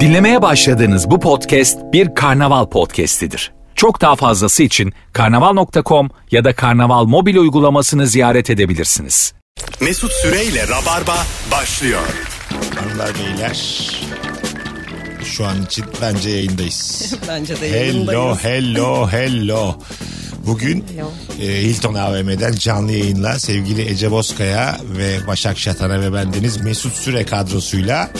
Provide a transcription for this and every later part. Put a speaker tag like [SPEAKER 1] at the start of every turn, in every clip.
[SPEAKER 1] Dinlemeye başladığınız bu podcast bir karnaval podcastidir. Çok daha fazlası için karnaval.com ya da karnaval mobil uygulamasını ziyaret edebilirsiniz.
[SPEAKER 2] Mesut Süreyle Rabarba başlıyor.
[SPEAKER 3] Hanımlar beyler. Şu an için bence yayındayız.
[SPEAKER 4] Bence de
[SPEAKER 3] hello
[SPEAKER 4] yayındayız.
[SPEAKER 3] hello hello. Bugün e, Hilton AVM'den canlı yayınla sevgili Ece Bozkaya ve Başak Şatan'a ve bendeniz Mesut Süre kadrosuyla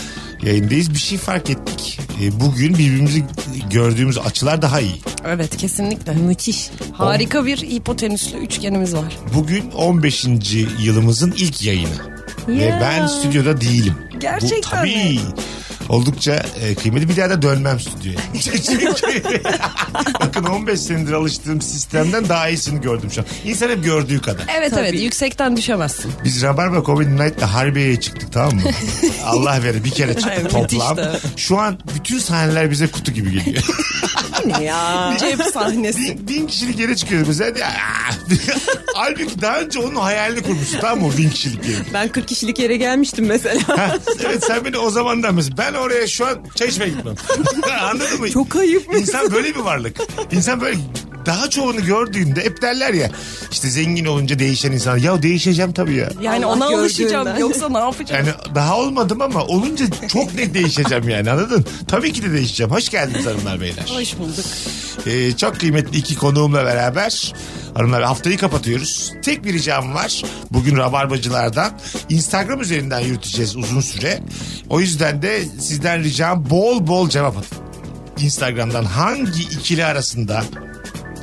[SPEAKER 3] yayındayız. Bir şey fark ettik. E, bugün birbirimizi gördüğümüz açılar daha iyi.
[SPEAKER 4] Evet kesinlikle. Müthiş. Harika bir hipotenüslü üçgenimiz var.
[SPEAKER 3] Bugün 15. yılımızın ilk yayını. Ve
[SPEAKER 4] Ya.
[SPEAKER 3] ben stüdyoda değilim.
[SPEAKER 4] Gerçekten
[SPEAKER 3] Bu, tabii.
[SPEAKER 4] mi?
[SPEAKER 3] Oldukça e, kıymetli. Bir daha da dönmem stüdyoya. Çünkü bakın 15 senedir alıştığım sistemden daha iyisini gördüm şu an. İnsan hep gördüğü kadar.
[SPEAKER 4] Evet evet yüksekten düşemezsin.
[SPEAKER 3] Biz Rabarba Comedy Night'ta Harbiye'ye çıktık tamam mı? Allah verir bir kere çıktık
[SPEAKER 4] Evet,
[SPEAKER 3] toplam.
[SPEAKER 4] müthişti.
[SPEAKER 3] Şu an bütün sahneler bize kutu gibi geliyor.
[SPEAKER 4] Ne ya? Cep sahnesi.
[SPEAKER 3] bin kişilik yere çıkıyoruz mesela. Halbuki daha önce onun hayalini kurmuşsun tamam mı? O bin kişilik yeri.
[SPEAKER 4] Ben 40 kişilik yere gelmiştim mesela.
[SPEAKER 3] Ha, evet sen beni o zamandan mesela ben oraya şu an çay içmeye gitmem. Anladın mı?
[SPEAKER 4] Çok ayıp mı?
[SPEAKER 3] İnsan böyle bir varlık. İnsan böyle daha çoğunu gördüğünde hep derler ya işte zengin olunca değişen insan. Ya değişeceğim tabii ya.
[SPEAKER 4] Yani
[SPEAKER 5] Allah
[SPEAKER 4] ona
[SPEAKER 5] gördüğünden.
[SPEAKER 4] alışacağım yoksa ne yapacağım?
[SPEAKER 3] Yani daha olmadım ama olunca çok net değişeceğim yani anladın? Tabii ki de değişeceğim. Hoş geldiniz hanımlar beyler.
[SPEAKER 4] Hoş bulduk.
[SPEAKER 3] Ee, çok kıymetli iki konuğumla beraber hanımlar haftayı kapatıyoruz. Tek bir ricam var. Bugün Rabarbacılardan Instagram üzerinden yürüteceğiz uzun süre. O yüzden de sizden ricam bol bol cevap atın. Instagram'dan hangi ikili arasında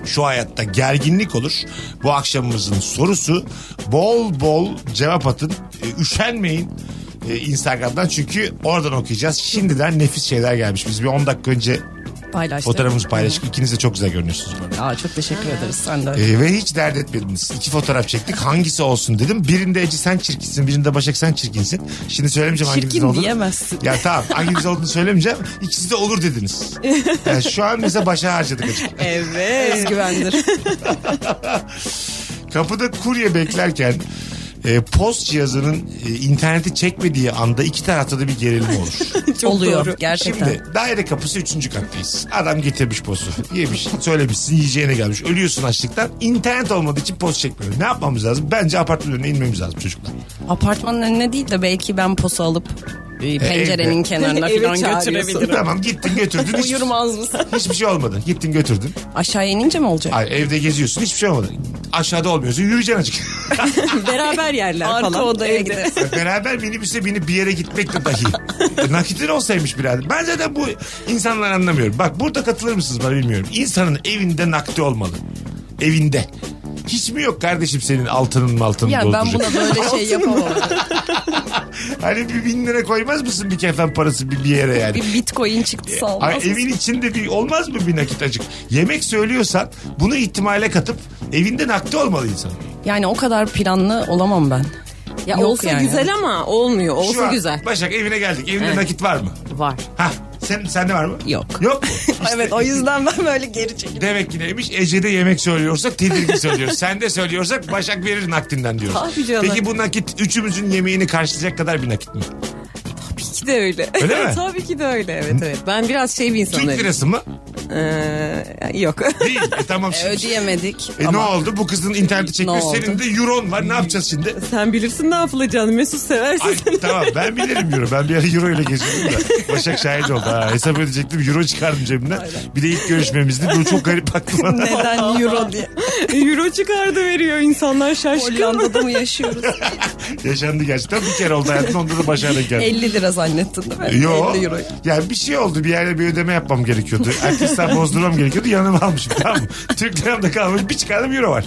[SPEAKER 3] şu hayatta gerginlik olur. Bu akşamımızın sorusu bol bol cevap atın. Ee, Üşenmeyin ee, Instagram'dan çünkü oradan okuyacağız. Şimdiden nefis şeyler gelmiş. Biz bir 10 dakika önce
[SPEAKER 4] Paylaştık.
[SPEAKER 3] Fotoğrafımızı paylaştık. İkiniz de çok güzel görünüyorsunuz bu arada.
[SPEAKER 4] Aa, çok teşekkür ederiz sen de.
[SPEAKER 3] Ee, ve hiç dert etmediniz. İki fotoğraf çektik. Hangisi olsun dedim. Birinde Ece sen çirkinsin. Birinde Başak sen çirkinsin. Şimdi söylemeyeceğim hanginizin
[SPEAKER 4] Çirkin
[SPEAKER 3] olduğunu.
[SPEAKER 4] diyemezsin.
[SPEAKER 3] Ya tamam hanginiz olduğunu söylemeyeceğim. İkisi de olur dediniz. Yani şu an mesela başa harcadık açık.
[SPEAKER 4] Evet. Özgüvendir.
[SPEAKER 3] Kapıda kurye beklerken e, post cihazının e, interneti çekmediği anda iki tarafta da bir gerilim olur.
[SPEAKER 4] Oluyor gerçekten.
[SPEAKER 3] Şimdi daire kapısı üçüncü kattayız. Adam getirmiş postu. Yemiş, söylemişsin, yiyeceğine gelmiş. Ölüyorsun açlıktan. İnternet olmadığı için post çekmiyor. Ne yapmamız lazım? Bence apartmanın önüne inmemiz lazım çocuklar.
[SPEAKER 4] Apartmanın önüne değil de belki ben posa alıp e, pencerenin
[SPEAKER 3] evde.
[SPEAKER 4] kenarına
[SPEAKER 5] Eve
[SPEAKER 4] falan
[SPEAKER 5] çağırıyorsun.
[SPEAKER 4] götürebilirim.
[SPEAKER 3] Tamam gittin götürdün. Hiç,
[SPEAKER 4] Uyurmaz mısın?
[SPEAKER 3] hiçbir şey olmadı. Gittin götürdün.
[SPEAKER 4] Aşağı inince mi olacak?
[SPEAKER 3] Ay, evde geziyorsun hiçbir şey olmadı. Aşağıda olmuyorsun yürüyeceksin açık.
[SPEAKER 5] Beraber yerler
[SPEAKER 4] Arka
[SPEAKER 5] falan.
[SPEAKER 4] odaya
[SPEAKER 5] Evde.
[SPEAKER 4] gider.
[SPEAKER 3] E, Beraber minibüse binip bir yere gitmek de dahi. E, Nakitin olsaymış birader. Ben zaten bu insanlar anlamıyorum. Bak burada katılır mısınız bana bilmiyorum. İnsanın evinde nakdi olmalı. Evinde. Hiç mi yok kardeşim senin altının altının
[SPEAKER 4] Ya ben
[SPEAKER 3] dolduracak?
[SPEAKER 4] buna böyle şey yapamam.
[SPEAKER 3] Hani bir bin lira koymaz mısın bir kefen parası bir, bir yere yani?
[SPEAKER 4] bir bitcoin çıktı sağ
[SPEAKER 3] Ay,
[SPEAKER 4] olmaz.
[SPEAKER 3] evin içinde bir olmaz mı bir nakit acık? Yemek söylüyorsan bunu ihtimale katıp evinde nakdi olmalı insan.
[SPEAKER 4] Yani o kadar planlı olamam ben.
[SPEAKER 5] Ya
[SPEAKER 4] Yok
[SPEAKER 5] olsa
[SPEAKER 4] yani.
[SPEAKER 5] güzel ama olmuyor.
[SPEAKER 3] Şu
[SPEAKER 5] Olsa
[SPEAKER 3] an,
[SPEAKER 5] güzel.
[SPEAKER 3] Başak evine geldik. Evinde
[SPEAKER 5] Evet.
[SPEAKER 3] nakit var mı?
[SPEAKER 5] Var.
[SPEAKER 3] Hah. Sen, sende var mı?
[SPEAKER 4] Yok.
[SPEAKER 3] Yok mu? İşte-
[SPEAKER 4] Evet o yüzden ben böyle geri çekilirim.
[SPEAKER 3] Demek ki neymiş? Ece'de yemek söylüyorsak tedirgin söylüyoruz. Sen de söylüyorsak Başak verir nakdinden diyoruz.
[SPEAKER 5] Tabii canım.
[SPEAKER 3] Peki bu nakit üçümüzün yemeğini karşılayacak kadar bir nakit mi?
[SPEAKER 5] Tabii ki de öyle.
[SPEAKER 3] Öyle mi?
[SPEAKER 5] Tabii ki de öyle. Evet evet. Ben biraz şey bir
[SPEAKER 3] Türk
[SPEAKER 5] insanım.
[SPEAKER 3] lirası mı?
[SPEAKER 5] Ee, yok.
[SPEAKER 3] Değil. E tamam şimdi.
[SPEAKER 4] Ödeyemedik
[SPEAKER 3] E ne
[SPEAKER 4] ama
[SPEAKER 3] oldu? Bu kızın interneti çekmiş.
[SPEAKER 4] Ne oldu?
[SPEAKER 3] Senin de euron var. Ne yapacağız şimdi?
[SPEAKER 5] Sen bilirsin ne yapılacağını. Mesut seversin.
[SPEAKER 3] Ay, tamam ben bilirim euro. Ben bir ara euro ile geziyordum da. Başak şahit oldu. Ha. Hesap ödeyecektim. Euro çıkardım cebimden. Bir de ilk görüşmemizdi. Bu çok garip aklıma.
[SPEAKER 4] neden euro diye.
[SPEAKER 5] Euro çıkardı veriyor insanlar şaşkın.
[SPEAKER 4] Hollanda'da mı yaşıyoruz?
[SPEAKER 3] Yaşandı gerçekten. Bir kere oldu hayatımda. Onda da başardık geldi.
[SPEAKER 4] 50 lira zannettin değil mi?
[SPEAKER 3] Yo.
[SPEAKER 4] 50 euro.
[SPEAKER 3] Ya bir şey oldu. Bir yerde bir ödeme yapmam gerekiyordu. Arkadaşlar bozdurmam gerekiyordu. Yanıma almışım tamam mı? Türk liramda kalmış. Bir çıkardım euro var.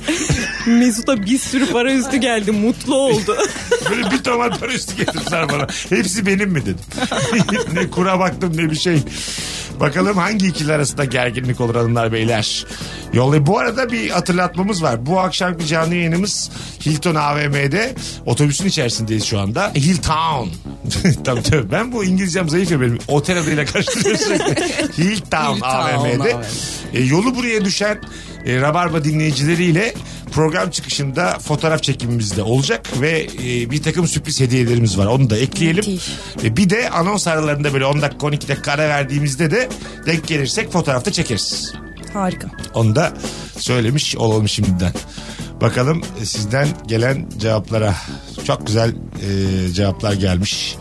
[SPEAKER 5] Mesut'a bir sürü para üstü geldi. Mutlu oldu.
[SPEAKER 3] Böyle bir tomat para üstü getirdiler bana. Hepsi benim mi dedim. ne kura baktım ne bir şey. Bakalım hangi ikili arasında gerginlik olur hanımlar beyler. Yolda bu arada bir hatırlatmamız var. Bu akşamki canlı yayınımız Hilton AVM'de otobüsün içerisindeyiz şu anda. Hilltown. tabii tabii. Ben bu İngilizcem zayıf ya benim. Otel adıyla karıştırıyorsun. Hilltown AVM'de. E, yolu buraya düşen e, Rabarba dinleyicileriyle program çıkışında fotoğraf çekimimiz de olacak ve e, bir takım sürpriz hediyelerimiz var. Onu da ekleyelim.
[SPEAKER 4] Müthiş.
[SPEAKER 3] E, bir de anons aralarında böyle 10 dakika 12 dakika ara verdiğimizde de denk gelirsek fotoğrafta çekeriz.
[SPEAKER 4] Harika.
[SPEAKER 3] Onu da söylemiş olalım şimdiden. Bakalım sizden gelen cevaplara. Çok güzel e, cevaplar gelmiş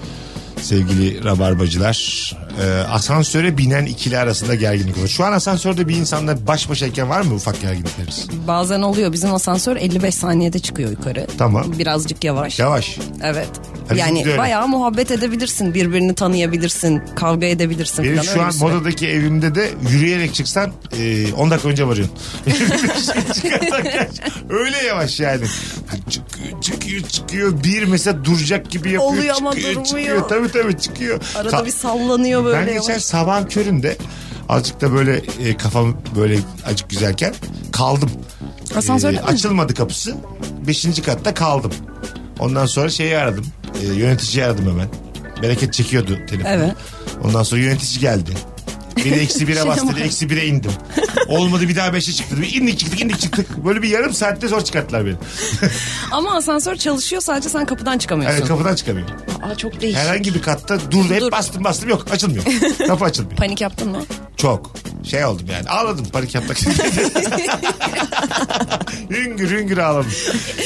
[SPEAKER 3] sevgili rabarbacılar. E, asansöre binen ikili arasında gerginlik olur. Şu an asansörde bir insanla baş başayken var mı ufak gerginlikleriniz?
[SPEAKER 4] Bazen oluyor bizim asansör 55 saniyede çıkıyor yukarı.
[SPEAKER 3] Tamam.
[SPEAKER 4] Birazcık yavaş.
[SPEAKER 3] Yavaş.
[SPEAKER 4] Evet.
[SPEAKER 3] Ha, bizim de
[SPEAKER 4] yani
[SPEAKER 3] öyle.
[SPEAKER 4] bayağı muhabbet edebilirsin. Birbirini tanıyabilirsin. Kavga edebilirsin.
[SPEAKER 3] Benim
[SPEAKER 4] falan, öyle
[SPEAKER 3] şu an
[SPEAKER 4] bir şey. süre.
[SPEAKER 3] modadaki evimde de yürüyerek çıksan e, 10 dakika önce varıyorsun. Çıkarsan geç. Öyle yavaş yani. Çıkıyor çıkıyor çıkıyor. Bir mesela duracak gibi yapıyor.
[SPEAKER 4] Oluyor ama
[SPEAKER 3] çıkıyor,
[SPEAKER 4] durmuyor.
[SPEAKER 3] Çıkıyor. Tabii tabii çıkıyor.
[SPEAKER 4] Arada
[SPEAKER 3] Ka-
[SPEAKER 4] bir sallanıyor böyle.
[SPEAKER 3] Ben
[SPEAKER 4] yavaş.
[SPEAKER 3] geçen sabah köründe azıcık da böyle e, kafam böyle acık güzelken kaldım.
[SPEAKER 4] Asansörde
[SPEAKER 3] E,
[SPEAKER 4] mi?
[SPEAKER 3] açılmadı kapısı. Beşinci katta kaldım. Ondan sonra şeyi aradım. E, yöneticiyi aradım hemen. Bereket çekiyordu telefonu.
[SPEAKER 4] Evet.
[SPEAKER 3] Ondan sonra yönetici geldi. Biri eksi bire
[SPEAKER 4] Şey
[SPEAKER 3] bastı.
[SPEAKER 4] ama-
[SPEAKER 3] eksi bire indim. Olmadı bir daha beşe çıktı. Bir indik çıktık indik çıktık. Böyle bir yarım saatte zor çıkarttılar beni.
[SPEAKER 4] Ama asansör çalışıyor sadece sen kapıdan çıkamıyorsun.
[SPEAKER 3] Yani kapıdan çıkamıyorum.
[SPEAKER 5] Aa çok değişik.
[SPEAKER 3] Herhangi bir katta durdu. Hep
[SPEAKER 4] Dur.
[SPEAKER 3] bastım bastım yok açılmıyor. Kapı açılmıyor.
[SPEAKER 4] Panik yaptın mı?
[SPEAKER 3] Çok. Şey oldum yani. Ağladım panik yapmak için. hüngür hüngür ağladım.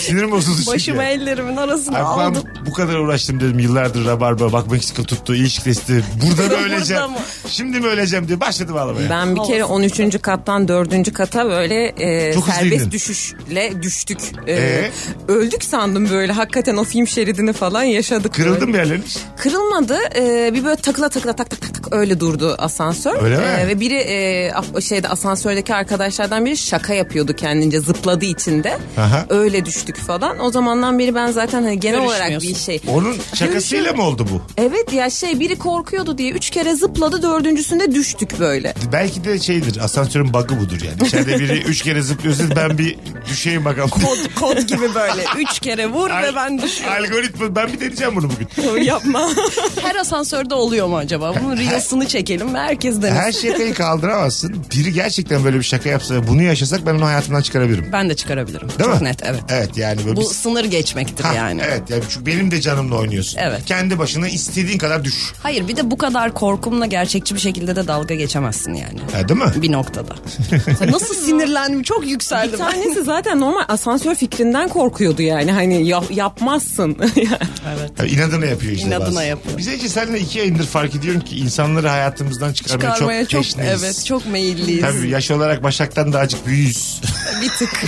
[SPEAKER 3] Sinirim bozuldu çünkü.
[SPEAKER 4] Başımı
[SPEAKER 3] Ay,
[SPEAKER 4] ellerimin arasına
[SPEAKER 3] ben
[SPEAKER 4] aldım.
[SPEAKER 3] bu kadar uğraştım dedim yıllardır rabarba bak Meksika tuttu ilişki testi burada mı
[SPEAKER 4] Burada
[SPEAKER 3] öleceğim
[SPEAKER 4] mı?
[SPEAKER 3] şimdi mi öleceğim diye başladım ağlamaya.
[SPEAKER 5] Ben bir kere 13. kattan 4. kata böyle e,
[SPEAKER 3] Çok
[SPEAKER 5] serbest
[SPEAKER 3] hızlıydın.
[SPEAKER 5] düşüşle düştük. E,
[SPEAKER 3] Ee?
[SPEAKER 5] Öldük sandım böyle hakikaten o film şeridini falan yaşadık.
[SPEAKER 3] Kırıldım
[SPEAKER 5] böyle.
[SPEAKER 3] bir yerlerini.
[SPEAKER 5] Kırılmadı. E, bir böyle takıla takıla tak tak tak tak öyle durdu asansör.
[SPEAKER 3] Öyle mi?
[SPEAKER 5] E, ve biri e, af- şeyde asansördeki arkadaşlardan biri şaka yapıyordu kendince zıpladığı içinde.
[SPEAKER 3] Aha.
[SPEAKER 5] Öyle düştük falan. O zamandan beri ben zaten hani genel olarak
[SPEAKER 4] Görüşmüyorsun.
[SPEAKER 5] bir şey.
[SPEAKER 3] Onun şakasıyla mı oldu bu?
[SPEAKER 5] Evet ya şey biri korkuyordu diye üç kere zıpladı dördüncüsünde düştük böyle.
[SPEAKER 3] Belki de şeydir asansörün bug'ı budur yani. İçeride biri üç kere zıplıyorsa ben bir düşeyim bakalım.
[SPEAKER 4] Kod, kod gibi böyle. Üç kere vur ve ben düşüyorum.
[SPEAKER 3] Algoritma ben bir deneyeceğim bunu bugün.
[SPEAKER 5] Yapma.
[SPEAKER 4] Her asansörde oluyor mu acaba? Bunun reels'ını çekelim ve herkes denesin.
[SPEAKER 3] Her şakayı kaldıramazsın. Biri gerçekten böyle bir şaka yapsa bunu yaşasak ben onu hayatımdan çıkarabilirim.
[SPEAKER 4] Ben de çıkarabilirim.
[SPEAKER 3] Değil
[SPEAKER 4] Çok
[SPEAKER 3] mi?
[SPEAKER 4] net evet.
[SPEAKER 3] Evet yani böyle
[SPEAKER 4] Bu
[SPEAKER 3] biz-
[SPEAKER 4] sınır geçmektir
[SPEAKER 3] Ha,
[SPEAKER 4] yani.
[SPEAKER 3] Evet yani çünkü benim de canımla oynuyorsun.
[SPEAKER 4] Evet.
[SPEAKER 3] Kendi başına istediğin kadar düş.
[SPEAKER 4] Hayır bir de bu kadar korkumla gerçekçi bir şekilde de dalga geçemezsin yani.
[SPEAKER 3] Ha, değil mi?
[SPEAKER 4] Bir noktada. Nasıl sinirlendim çok yükseldim.
[SPEAKER 5] Bir tanesi zaten normal asansör fikrinden korkuyordu yani hani ya- yapmazsın.
[SPEAKER 3] Yani inadına yapıyor işte
[SPEAKER 4] İnadına
[SPEAKER 3] bazen.
[SPEAKER 4] yapıyor.
[SPEAKER 3] Biz Ece seninle iki ayındır fark ediyorum ki insanları hayatımızdan çıkarmaya,
[SPEAKER 4] Çıkarmaya
[SPEAKER 3] çok,
[SPEAKER 4] çok,
[SPEAKER 3] teşneyiz.
[SPEAKER 4] evet çok meyilliyiz.
[SPEAKER 3] Tabii yaş olarak Başak'tan daha azıcık büyüyüz.
[SPEAKER 4] Bir tık.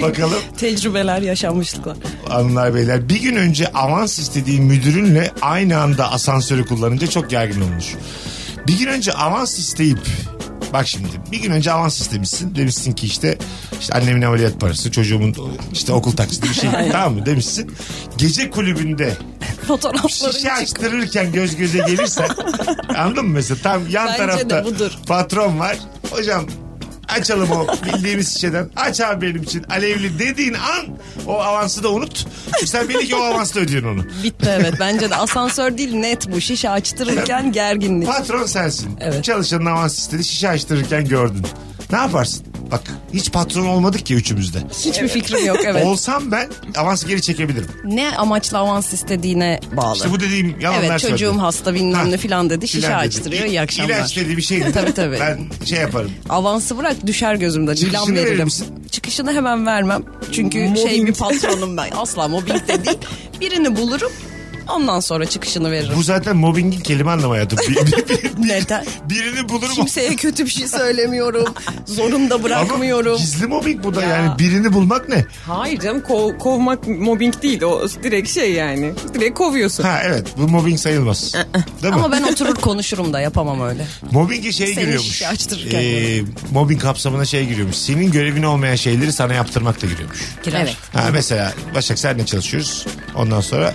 [SPEAKER 3] Bakalım
[SPEAKER 4] Tecrübeler, yaşanmışlıklar.
[SPEAKER 3] hanımlar beyler. Bir gün önce avans istediği müdürünle aynı anda asansörü kullanınca çok gergin olmuş. Bir gün önce avans isteyip Bak şimdi bir gün önce avans istemişsin. Demişsin ki işte, işte annemin ameliyat parası, çocuğumun işte okul taksidi bir şey. tamam mı demişsin. Gece kulübünde şişe
[SPEAKER 4] Fotoğrafları çık.
[SPEAKER 3] açtırırken göz göze gelirsen anladın mı mesela tam yan
[SPEAKER 4] Bence de
[SPEAKER 3] tarafta
[SPEAKER 4] budur.
[SPEAKER 3] patron var. Hocam açalım o bildiğimiz şişeden. Aç abi benim için alevli dediğin an o avansı da unut. Sen bil ki o avansla ödüyorsun onu.
[SPEAKER 4] Bitti evet bence de asansör değil net bu şişe açtırırken gerginlik.
[SPEAKER 3] Patron sensin.
[SPEAKER 4] Evet.
[SPEAKER 3] Çalışanın avans istedi şişe açtırırken gördün. Ne yaparsın? Bak hiç patron olmadık ki üçümüzde.
[SPEAKER 4] Hiçbir fikrim yok evet.
[SPEAKER 3] Olsam ben avansı geri çekebilirim.
[SPEAKER 4] Ne amaçla avans istediğine bağlı.
[SPEAKER 3] İşte bu dediğim yalanlar
[SPEAKER 4] evet çocuğum
[SPEAKER 3] söyledi.
[SPEAKER 4] hasta bilmem ne filan dedi şişe
[SPEAKER 3] Filan dedi.
[SPEAKER 4] açtırıyor
[SPEAKER 3] İ-
[SPEAKER 4] iyi akşamlar.
[SPEAKER 3] İlaç dedi bir şey dedi.
[SPEAKER 4] Tabii, tabii.
[SPEAKER 3] Ben şey yaparım.
[SPEAKER 4] Avansı bırak düşer gözümden.
[SPEAKER 3] Çıkışını
[SPEAKER 4] İlan
[SPEAKER 3] verir
[SPEAKER 4] veririm.
[SPEAKER 3] misin?
[SPEAKER 4] Çıkışını hemen vermem. Çünkü şey
[SPEAKER 5] Mobbing.
[SPEAKER 4] bir patronum ben. Asla mobbing de değil. Birini bulurum. Ondan sonra çıkışını veririm.
[SPEAKER 3] Bu zaten mobbingin kelime anlamı hayatım. Bir- bir- bir-
[SPEAKER 4] Neden?
[SPEAKER 3] birini bulurum.
[SPEAKER 4] Kimseye kötü bir şey söylemiyorum. Zorunda
[SPEAKER 3] Ama
[SPEAKER 4] bırakmıyorum.
[SPEAKER 3] gizli mobbing bu da
[SPEAKER 4] Ya.
[SPEAKER 3] yani. Birini bulmak ne?
[SPEAKER 5] Hayır canım kov- kovmak mobbing değil o direkt şey yani direkt kovuyorsun.
[SPEAKER 3] Ha evet bu mobbing sayılmaz. Değil mi?
[SPEAKER 4] Ama ben oturur konuşurum da yapamam öyle.
[SPEAKER 3] Mobbing'e şey
[SPEAKER 4] Seni
[SPEAKER 3] giriyormuş.
[SPEAKER 4] şişe açtırırken
[SPEAKER 3] Ee, mobbing kapsamına şey giriyormuş. Senin görevin olmayan şeyleri sana yaptırmak da giriyormuş.
[SPEAKER 4] Girer.
[SPEAKER 5] Evet.
[SPEAKER 3] Ha, mesela Başak senle çalışıyoruz. Ondan sonra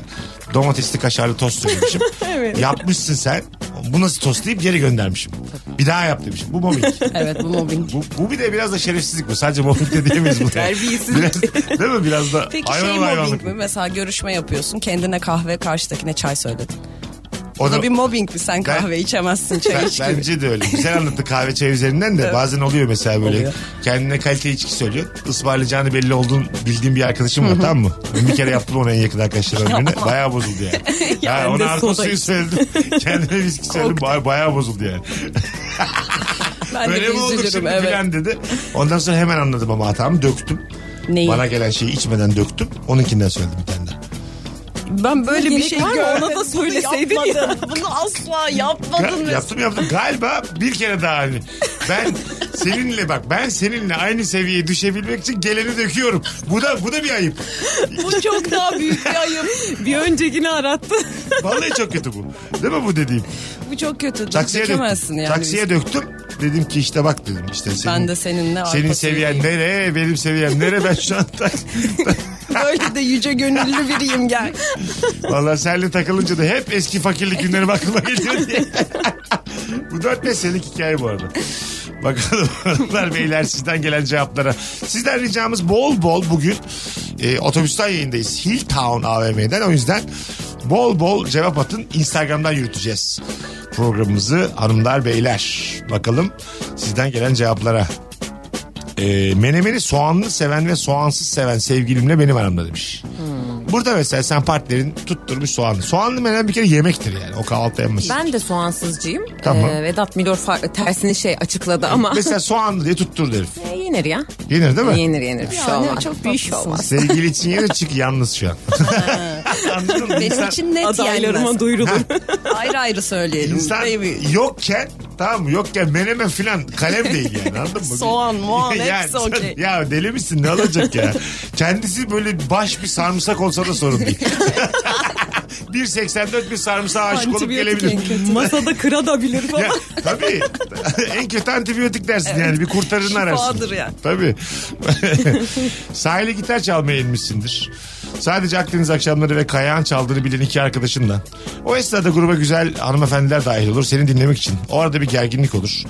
[SPEAKER 3] domatesli kaşarlı tost söylemişim. Yapmışsın sen. Bu nasıl tost deyip geri göndermişim. Bir daha yap demişim. Bu mobbing.
[SPEAKER 4] Evet bu mobbing.
[SPEAKER 3] Bu, bu bir de biraz da şerefsizlik bu. Sadece mobbing de diyemeyiz bu.
[SPEAKER 5] Terbiyesizlik.
[SPEAKER 3] Biraz, değil mi? Biraz da
[SPEAKER 4] Peki
[SPEAKER 3] hayvan
[SPEAKER 4] şey
[SPEAKER 3] hayvanlık
[SPEAKER 4] mobbing şey. mi? Mesela görüşme yapıyorsun. Kendine kahve karşıdakine çay söyledin. Bu
[SPEAKER 3] Onu-
[SPEAKER 4] da bir mobbing mi? Sen kahve
[SPEAKER 3] Ben-
[SPEAKER 4] içemezsin çay
[SPEAKER 3] Ben-
[SPEAKER 4] iç gibi.
[SPEAKER 3] bence de öyle. Güzel anlattı kahve çay üzerinden de bazen oluyor mesela böyle. Kendine kalite içki söylüyor. Ismarlayacağını belli olduğun bildiğim bir arkadaşım var tamam mı? Ben bir kere yaptım ona en yakın arkadaşlarımdan birine. Bayağı bozuldu yani.
[SPEAKER 5] Ya
[SPEAKER 3] Ha,
[SPEAKER 5] ben de
[SPEAKER 3] ona arpa
[SPEAKER 5] soda
[SPEAKER 3] suyu söyledim. Kendine viski söyledim. Baya- Bayağı bozuldu yani.
[SPEAKER 4] Ben
[SPEAKER 3] Böyle
[SPEAKER 4] de
[SPEAKER 3] mi olduk
[SPEAKER 4] üzülürüm
[SPEAKER 3] şimdi
[SPEAKER 4] evet.
[SPEAKER 3] filan dedi. Ondan sonra hemen anladım ama hatamı döktüm.
[SPEAKER 4] Neyi?
[SPEAKER 3] Bana gelen şeyi içmeden döktüm. Onunkinden söyledim bir tane daha.
[SPEAKER 4] Ben böyle bir
[SPEAKER 5] Gerek
[SPEAKER 4] şey
[SPEAKER 5] var mı?
[SPEAKER 4] görmedim.
[SPEAKER 5] Ona da söyleseydin ya.
[SPEAKER 4] Yapmadın. Bunu asla yapmadın.
[SPEAKER 3] Ga-
[SPEAKER 4] Mesut.
[SPEAKER 3] yaptım yaptım. Galiba bir kere daha hani. Ben seninle bak ben seninle aynı seviyeye düşebilmek için geleni döküyorum. Bu da bu da bir ayıp.
[SPEAKER 4] Bu çok daha büyük bir ayıp.
[SPEAKER 5] Bir öncekini arattı.
[SPEAKER 3] Vallahi çok kötü bu. Değil mi bu dediğim?
[SPEAKER 4] Bu çok kötü.
[SPEAKER 3] Taksiye
[SPEAKER 4] Dökemezsin
[SPEAKER 3] döktüm.
[SPEAKER 4] yani.
[SPEAKER 3] Taksiye döktüm. Dedim ki işte bak dedim işte senin,
[SPEAKER 4] Ben de seninle arpa
[SPEAKER 3] senin
[SPEAKER 4] suyu
[SPEAKER 3] seviyen
[SPEAKER 4] yiyeyim.
[SPEAKER 3] nere benim seviyem nere ben şu an tak-
[SPEAKER 4] Böyle de yüce gönüllü biriyim gel.
[SPEAKER 3] Valla senle takılınca da hep eski fakirlik günlerim aklıma geliyor diye. bu 4-5 senelik hikaye bu arada. Bakalım hanımlar beyler sizden gelen cevaplara. Sizden ricamız bol bol bugün e, otobüsten yayındayız. Hilltown AVM'den o yüzden bol bol cevap atın. Instagram'dan yürüteceğiz programımızı hanımlar beyler. Bakalım sizden gelen cevaplara. E, menemeni soğanlı seven ve soğansız seven sevgilimle benim aramda demiş. Burada mesela sen partnerin tutturmuş soğanlı. Soğanlı menemen bir kere yemektir yani. O kahvaltı yenmez.
[SPEAKER 5] Ben de soğansızcıyım.
[SPEAKER 3] Tamam.
[SPEAKER 5] Ee, Vedat Milor fa- tersini şey açıkladı ama.
[SPEAKER 3] Mesela soğanlı diye tutturdu herif.
[SPEAKER 5] Ee, yenir ya.
[SPEAKER 3] Yenir değil mi?
[SPEAKER 5] Yenir yenir. Bir şey olmaz.
[SPEAKER 4] çok
[SPEAKER 5] Bir şey
[SPEAKER 4] tatlısınız.
[SPEAKER 5] olmaz.
[SPEAKER 3] Sevgili için yenir çünkü yalnız şu an. Anladın mı?
[SPEAKER 4] Benim
[SPEAKER 3] İnsan-
[SPEAKER 4] için net yenmez.
[SPEAKER 5] Adaylarıma duyurulur.
[SPEAKER 4] Ayrı ayrı söyleyelim.
[SPEAKER 3] İnsan
[SPEAKER 4] Baby.
[SPEAKER 3] yokken tamam mı? yokken menemen filan kalem değil yani anladın mı?
[SPEAKER 4] Soğan, muan,
[SPEAKER 3] Yani
[SPEAKER 4] hepsi
[SPEAKER 3] sen-
[SPEAKER 4] okey.
[SPEAKER 3] Ya deli misin ne olacak ya? Kendisi böyle baş bir sarımsak olsa da sorun değil. 1.84 bir sarımsağa aşık olup
[SPEAKER 5] Antibiyotik
[SPEAKER 3] gelebilir.
[SPEAKER 5] en kötü. Masada kıra da bilir falan.
[SPEAKER 3] Ya, tabii. en kötü antibiyotik dersin yani. Bir kurtarını ararsın.
[SPEAKER 4] Şifadır yani.
[SPEAKER 3] Tabii. Sahile gitar çalmaya inmişsindir. Sadece Akdeniz akşamları ve Kayağan çaldığını bilen iki arkadaşınla. O esnada gruba güzel hanımefendiler dahil olur seni dinlemek için. O arada bir gerginlik olur.